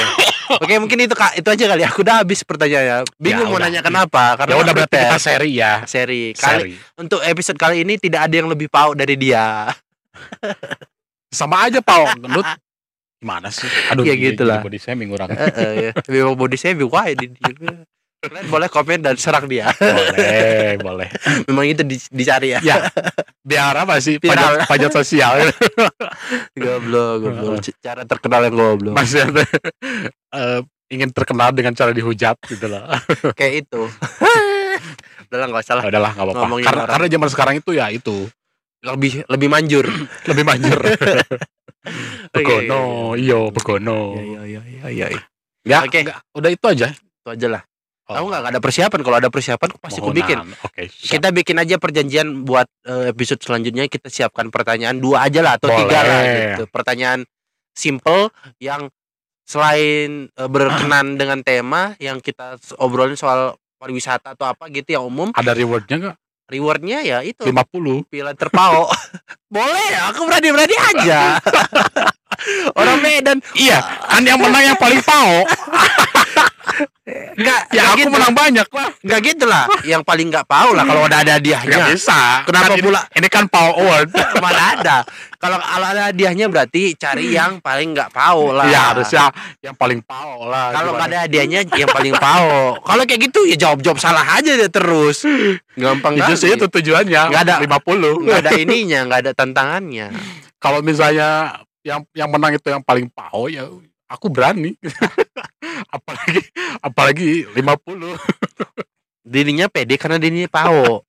[SPEAKER 1] Oke mungkin itu kak Itu aja kali ya. Aku udah habis pertanyaannya Bingung
[SPEAKER 2] Ya
[SPEAKER 1] mau
[SPEAKER 2] udah.
[SPEAKER 1] nanya kenapa
[SPEAKER 2] [laughs] ya
[SPEAKER 1] Karena
[SPEAKER 2] udah berarti kita
[SPEAKER 1] protes.
[SPEAKER 2] seri ya
[SPEAKER 1] seri kali
[SPEAKER 2] seri
[SPEAKER 1] untuk episode kali ini tidak ada yang lebih pau dari dia
[SPEAKER 2] sama aja pau gendut gimana sih aduh
[SPEAKER 1] Ya
[SPEAKER 2] jadi-
[SPEAKER 1] gitu
[SPEAKER 2] jadi
[SPEAKER 1] lah.
[SPEAKER 2] body shaming orang
[SPEAKER 1] Heeh, ya. memang body saya lebih wide dia. kalian boleh komen dan serang dia [laughs]
[SPEAKER 2] boleh boleh
[SPEAKER 1] memang itu di- dicari ya
[SPEAKER 2] ya biar apa sih
[SPEAKER 1] Viral.
[SPEAKER 2] pajak, pajak sosial
[SPEAKER 1] [laughs] goblok goblok C- cara terkenal yang goblok
[SPEAKER 2] maksudnya eh, ingin terkenal dengan cara dihujat gitu lah
[SPEAKER 1] kayak itu [laughs] udah lah nggak salah
[SPEAKER 2] Nah, udahlah nggak apa-apa
[SPEAKER 1] Ngomongin
[SPEAKER 2] karena,
[SPEAKER 1] orang.
[SPEAKER 2] karena zaman sekarang itu ya itu
[SPEAKER 1] lebih lebih
[SPEAKER 2] [clears throat]
[SPEAKER 1] manjur Oh,
[SPEAKER 2] lebih [laughs] manjur iya, begono iyo
[SPEAKER 1] Oke,
[SPEAKER 2] begono
[SPEAKER 1] iya iya iya iya iya.
[SPEAKER 2] ya
[SPEAKER 1] Oke.
[SPEAKER 2] nggak, udah itu aja
[SPEAKER 1] itu aja lah
[SPEAKER 2] Oh,
[SPEAKER 1] tahu nggak nggak ada persiapan kalau ada persiapan pasti aku
[SPEAKER 2] mohonan.
[SPEAKER 1] bikin
[SPEAKER 2] oke siap.
[SPEAKER 1] kita bikin aja perjanjian buat eh, episode selanjutnya kita siapkan pertanyaan dua aja lah atau tiga
[SPEAKER 2] Boleh.
[SPEAKER 1] lah gitu. Pertanyaan simple yang selain eh,
[SPEAKER 2] [clears throat]
[SPEAKER 1] berkenan dengan tema yang kita s- obrolin soal pariwisata atau apa gitu yang umum,
[SPEAKER 2] ada rewardnya nggak
[SPEAKER 1] rewardnya ya itu
[SPEAKER 2] lima puluh
[SPEAKER 1] pilihan
[SPEAKER 2] [laughs]
[SPEAKER 1] terpau. Boleh, aku berani-berani aja. [laughs] Orang Medan
[SPEAKER 2] iya kan yang menang yang paling pau
[SPEAKER 1] enggak
[SPEAKER 2] [laughs] ya aku menang banyak lah
[SPEAKER 1] enggak gitu lah. Yang paling enggak pau lah kalau udah ada
[SPEAKER 2] nggak
[SPEAKER 1] hadiahnya.
[SPEAKER 2] bisa
[SPEAKER 1] Kenapa
[SPEAKER 2] Kan ini-
[SPEAKER 1] pula
[SPEAKER 2] ini kan pau award
[SPEAKER 1] [laughs] mana ada kalau kalau ada hadiahnya berarti cari yang paling nggak pau lah
[SPEAKER 2] ya harusnya yang paling pau lah
[SPEAKER 1] kalau nggak
[SPEAKER 2] Gimana?
[SPEAKER 1] ada hadiahnya yang paling pau kalau kayak gitu ya jawab jawab salah aja deh terus gampang
[SPEAKER 2] itu sih itu
[SPEAKER 1] kali
[SPEAKER 2] tujuannya
[SPEAKER 1] Nggak ada.
[SPEAKER 2] 50
[SPEAKER 1] nggak
[SPEAKER 2] [laughs]
[SPEAKER 1] ada ininya nggak ada tantangannya
[SPEAKER 2] kalau misalnya yang yang menang itu yang paling pau ya aku berani [laughs] apalagi apalagi 50
[SPEAKER 1] dirinya pede karena dirinya pau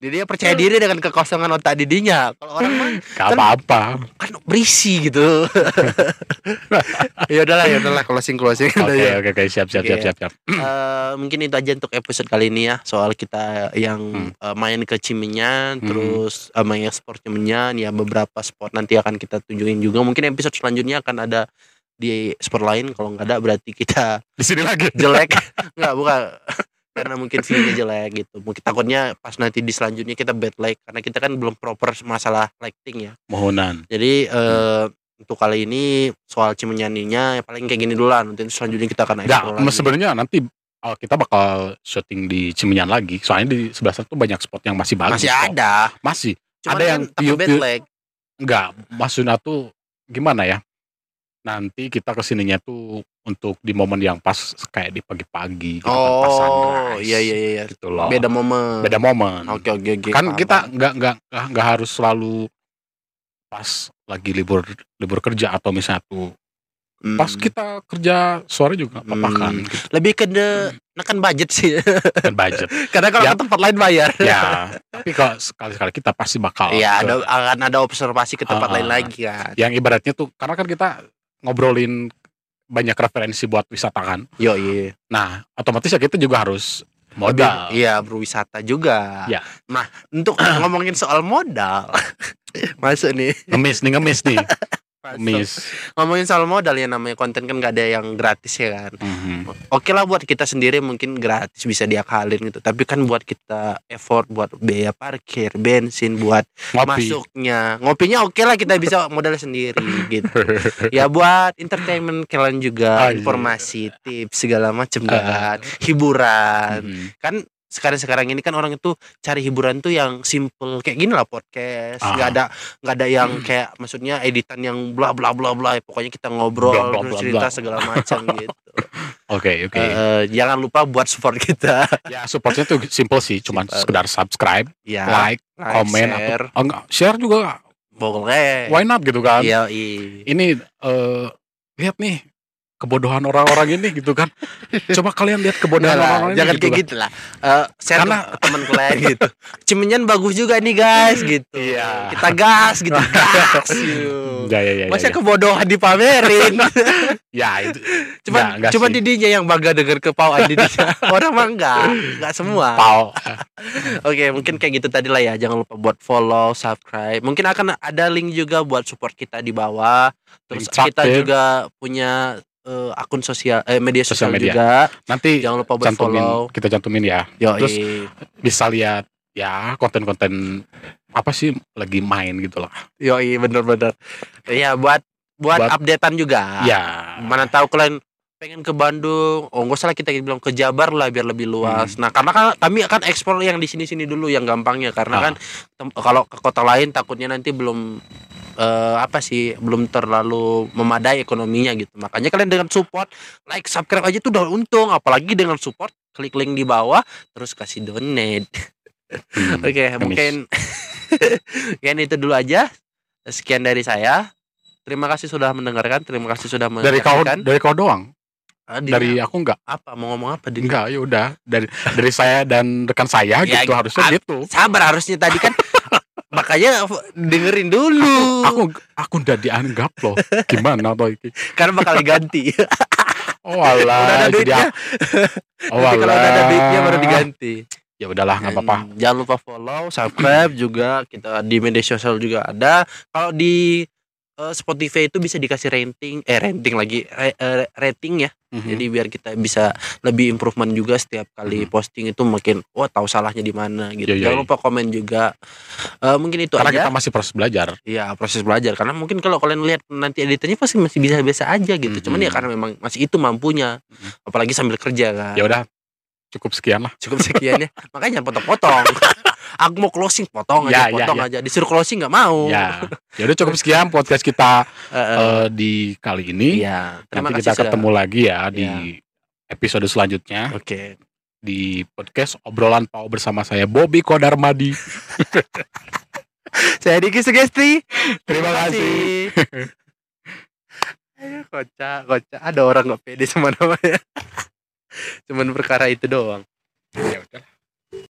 [SPEAKER 1] dirinya percaya diri dengan kekosongan otak didinya kalau orang mah
[SPEAKER 2] gak apa-apa
[SPEAKER 1] kan berisi gitu [laughs] ya udahlah ya udahlah closing closing
[SPEAKER 2] oke
[SPEAKER 1] udah ya.
[SPEAKER 2] oke oke siap siap
[SPEAKER 1] Oke,
[SPEAKER 2] siap siap siap
[SPEAKER 1] Eh, mungkin itu aja untuk episode kali ini ya soal kita yang
[SPEAKER 2] Hmm.
[SPEAKER 1] eh, main ke Ciminyan
[SPEAKER 2] Hmm.
[SPEAKER 1] terus eh, main ekspor Ciminyan ya beberapa spot nanti akan kita tunjukin juga mungkin episode selanjutnya akan ada di spot lain kalau nggak ada berarti kita [laughs]
[SPEAKER 2] di sini lagi
[SPEAKER 1] jelek nggak bukan [laughs] karena mungkin sininya jelek gitu mungkin takutnya pas nanti di selanjutnya kita bad light karena kita kan belum proper masalah lighting ya
[SPEAKER 2] mohonan
[SPEAKER 1] jadi eh,
[SPEAKER 2] Hmm.
[SPEAKER 1] untuk kali ini soal Ciminyaninya ya paling kayak gini dulu lah nanti selanjutnya kita akan
[SPEAKER 2] nggak
[SPEAKER 1] explore
[SPEAKER 2] em,
[SPEAKER 1] Nah, lagi.
[SPEAKER 2] sebenarnya nanti uh, kita bakal syuting di Cimenyan lagi soalnya di sebelah sana tuh banyak spot yang masih bagus
[SPEAKER 1] masih
[SPEAKER 2] kok.
[SPEAKER 1] ada
[SPEAKER 2] masih
[SPEAKER 1] Cuman
[SPEAKER 2] Ada yang
[SPEAKER 1] kan takut
[SPEAKER 2] piu-
[SPEAKER 1] bad
[SPEAKER 2] piu-
[SPEAKER 1] lag.
[SPEAKER 2] nggak maksudnya tuh gimana ya nanti kita kesininya tuh untuk di momen yang pas kayak di pagi-pagi gitu kan, pas
[SPEAKER 1] Oh,
[SPEAKER 2] sunrise.
[SPEAKER 1] iya iya iya.
[SPEAKER 2] gitu loh
[SPEAKER 1] Beda momen.
[SPEAKER 2] beda momen
[SPEAKER 1] Oke oke oke.
[SPEAKER 2] kan
[SPEAKER 1] paham,
[SPEAKER 2] kita
[SPEAKER 1] paham.
[SPEAKER 2] nggak nggak nggak nggak harus selalu pas lagi libur libur kerja atau misalnya tuh
[SPEAKER 1] Hmm.
[SPEAKER 2] pas kita kerja sore juga nggak apa-apa
[SPEAKER 1] Hmm.
[SPEAKER 2] kan gitu,
[SPEAKER 1] lebih ke de, nekan budget
[SPEAKER 2] [laughs]
[SPEAKER 1] sih.
[SPEAKER 2] kan budget
[SPEAKER 1] Karena kalau
[SPEAKER 2] Ya.
[SPEAKER 1] ke tempat lain bayar.
[SPEAKER 2] ya tapi kalau sekali-sekali kita pasti bakal
[SPEAKER 1] [laughs] Iya,
[SPEAKER 2] ke-
[SPEAKER 1] ada akan ada observasi ke tempat
[SPEAKER 2] Ah,
[SPEAKER 1] lain
[SPEAKER 2] Oh, ah.
[SPEAKER 1] lagi kan.
[SPEAKER 2] yang ibaratnya tuh karena kan kita ngobrolin banyak referensi buat wisata kan
[SPEAKER 1] Yo iya.
[SPEAKER 2] Nah, otomatis ya kita juga harus
[SPEAKER 1] Lebih-
[SPEAKER 2] modal.
[SPEAKER 1] Iya, berwisata juga.
[SPEAKER 2] Ya.
[SPEAKER 1] Nah,
[SPEAKER 2] [clears throat]
[SPEAKER 1] untuk ngomongin soal modal. [laughs] Masuk nih.
[SPEAKER 2] Ngemis nih, ngemis nih,
[SPEAKER 1] [laughs] Masuk.
[SPEAKER 2] ngemis.
[SPEAKER 1] Ngomongin soal modal ya namanya konten kan gak ada yang gratis ya kan.
[SPEAKER 2] Mhm.
[SPEAKER 1] oke lah buat kita sendiri mungkin gratis bisa diakalin gitu tapi kan buat kita effort buat biaya parkir bensin buat
[SPEAKER 2] Ngopi.
[SPEAKER 1] masuknya ngopinya oke lah kita bisa modal sendiri
[SPEAKER 2] [laughs]
[SPEAKER 1] gitu ya buat entertainment kalian juga
[SPEAKER 2] Ah, iya.
[SPEAKER 1] informasi tips segala macem
[SPEAKER 2] Ah.
[SPEAKER 1] kan hiburan
[SPEAKER 2] Mhm.
[SPEAKER 1] kan sekarang sekarang ini kan orang itu cari hiburan tuh yang simple kayak gini lah podcast
[SPEAKER 2] Ah.
[SPEAKER 1] nggak ada nggak ada yang kayak maksudnya editan yang bla bla bla bla pokoknya kita ngobrol
[SPEAKER 2] Bla, bla,
[SPEAKER 1] terus
[SPEAKER 2] bla,
[SPEAKER 1] cerita
[SPEAKER 2] bla.
[SPEAKER 1] segala
[SPEAKER 2] [laughs]
[SPEAKER 1] macam gitu
[SPEAKER 2] Oke, oke.
[SPEAKER 1] Eh, jangan lupa buat support kita.
[SPEAKER 2] Ya supportnya tuh simple sih, cuman
[SPEAKER 1] Simple.
[SPEAKER 2] sekedar subscribe,
[SPEAKER 1] [laughs] Ya,
[SPEAKER 2] like,
[SPEAKER 1] like,
[SPEAKER 2] komen,
[SPEAKER 1] share,
[SPEAKER 2] oh, enggak, share juga.
[SPEAKER 1] boleh.
[SPEAKER 2] Why not gitu kan?
[SPEAKER 1] Iya, i.
[SPEAKER 2] Ini eh lihat nih ke kebodohan orang-orang ini gitu
[SPEAKER 1] [laughs]
[SPEAKER 2] kan. Coba kalian lihat kebodohan
[SPEAKER 1] Jangan,
[SPEAKER 2] orang-orang ini.
[SPEAKER 1] jangan
[SPEAKER 2] gitu
[SPEAKER 1] kayak
[SPEAKER 2] kan.
[SPEAKER 1] gitu lah. Eh, share
[SPEAKER 2] Karena-
[SPEAKER 1] ke teman [laughs] kalian gitu. Cimenyan bagus juga nih guys gitu.
[SPEAKER 2] Iya.
[SPEAKER 1] Kita gas [laughs] gitu. gas. yuk.
[SPEAKER 2] Ya, ya, ya, ya,
[SPEAKER 1] Masa
[SPEAKER 2] ya.
[SPEAKER 1] kebodohan [laughs] dipamerin.
[SPEAKER 2] Ya, itu
[SPEAKER 1] Cuman
[SPEAKER 2] Nggak, nggak
[SPEAKER 1] cuman
[SPEAKER 2] sih.
[SPEAKER 1] didinya yang bangga dengan kepauan [laughs] didinya. Orang mah enggak, enggak semua.
[SPEAKER 2] pau.
[SPEAKER 1] Oke,
[SPEAKER 2] Hmm.
[SPEAKER 1] mungkin kayak gitu tadi lah ya. Jangan lupa buat follow, subscribe. Mungkin akan ada link juga buat support kita di bawah. Terus
[SPEAKER 2] Link traktir.
[SPEAKER 1] kita juga punya eh, akun sosial eh media sosial,
[SPEAKER 2] Sosial media.
[SPEAKER 1] juga.
[SPEAKER 2] Nanti
[SPEAKER 1] Jangan lupa buat
[SPEAKER 2] cantumin
[SPEAKER 1] follow.
[SPEAKER 2] kita cantumin ya.
[SPEAKER 1] Yoi.
[SPEAKER 2] terus Bisa lihat ya konten-konten apa sih lagi main gitu lah.
[SPEAKER 1] Yoi, bener-bener. Iya, buat buat,
[SPEAKER 2] Buat-
[SPEAKER 1] updatean juga.
[SPEAKER 2] ya.
[SPEAKER 1] Mana tahu kalian pengen ke Bandung, oh nggak salah kita bilang ke Jabar lah biar lebih luas.
[SPEAKER 2] Hmm.
[SPEAKER 1] Nah, karena kan kami akan ekspor yang di sini-sini dulu yang gampangnya karena
[SPEAKER 2] Ah.
[SPEAKER 1] kan tem- kalau ke kota lain takutnya nanti belum eh, apa sih belum terlalu memadai ekonominya gitu. Makanya kalian dengan support, like, subscribe aja tuh udah untung, apalagi dengan support klik link di bawah terus kasih donate.
[SPEAKER 2] Hmm.
[SPEAKER 1] Oke, mungkin [laughs] mungkin itu dulu aja. Sekian dari saya. Terima kasih sudah mendengarkan, terima kasih sudah
[SPEAKER 2] Dari kau
[SPEAKER 1] menyaksikan.
[SPEAKER 2] dari kau doang.
[SPEAKER 1] Ah, Dini,
[SPEAKER 2] Dari aku enggak.
[SPEAKER 1] apa mau ngomong apa Dini?
[SPEAKER 2] Enggak, ya udah. Dari dari saya dan rekan saya
[SPEAKER 1] Ya,
[SPEAKER 2] gitu harusnya
[SPEAKER 1] ab-
[SPEAKER 2] gitu.
[SPEAKER 1] Sabar harusnya tadi
[SPEAKER 2] [laughs]
[SPEAKER 1] kan. makanya dengerin dulu.
[SPEAKER 2] Aku aku udah dianggap loh. Gimana toh iki?
[SPEAKER 1] Karena bakal
[SPEAKER 2] [laughs]
[SPEAKER 1] diganti.
[SPEAKER 2] Oh alah,
[SPEAKER 1] Udah ada [laughs] duitnya.
[SPEAKER 2] jadi aku- oh
[SPEAKER 1] Nanti kalau udah ada
[SPEAKER 2] alah.
[SPEAKER 1] duitnya baru diganti.
[SPEAKER 2] Ya udahlah nggak apa-apa.
[SPEAKER 1] Dan Jangan lupa follow, subscribe juga kita di media sosial juga ada. Kalau di eh, Spotify itu bisa dikasih rating, eh rating lagi, re- eh, rating ya.
[SPEAKER 2] Mhm.
[SPEAKER 1] Jadi biar kita bisa lebih improvement juga setiap kali posting itu makin wah tahu salahnya di mana gitu.
[SPEAKER 2] Hmm. Iya, iya,
[SPEAKER 1] Jangan
[SPEAKER 2] iya.
[SPEAKER 1] lupa komen juga. Eh, mungkin itu
[SPEAKER 2] karena
[SPEAKER 1] aja.
[SPEAKER 2] kita masih proses belajar.
[SPEAKER 1] Iya, proses belajar karena mungkin kalau kalian lihat nanti editannya pasti masih bisa-bisa aja gitu. Cuman
[SPEAKER 2] Mhm.
[SPEAKER 1] ya karena memang masih itu mampunya. Apalagi sambil kerja kan.
[SPEAKER 2] Ya udah cukup sekian lah.
[SPEAKER 1] Cukup
[SPEAKER 2] [laughs]
[SPEAKER 1] sekian ya. Makanya jangan potong-potong. Aku mau closing potong aja,
[SPEAKER 2] Ya, ya,
[SPEAKER 1] potong
[SPEAKER 2] ya.
[SPEAKER 1] aja. Disuruh closing nggak mau.
[SPEAKER 2] Ya. [laughs] Ya udah cukup sekian podcast kita
[SPEAKER 1] Eh, eh,
[SPEAKER 2] eh, di kali ini.
[SPEAKER 1] Iya. Terima kasih
[SPEAKER 2] Nanti kita
[SPEAKER 1] sudah-
[SPEAKER 2] ketemu lagi ya di
[SPEAKER 1] Iya.
[SPEAKER 2] episode selanjutnya
[SPEAKER 1] Oke.
[SPEAKER 2] di podcast obrolan Pau bersama saya Bobby Kodarmadi.
[SPEAKER 1] Saya Diki Sugesti.
[SPEAKER 2] Terima kasih. [laughs]
[SPEAKER 1] Aduh, kocak, kocak.
[SPEAKER 2] [laughs]
[SPEAKER 1] Ada orang nggak pede sama namanya. Cuman perkara itu doang.
[SPEAKER 2] Ya udah.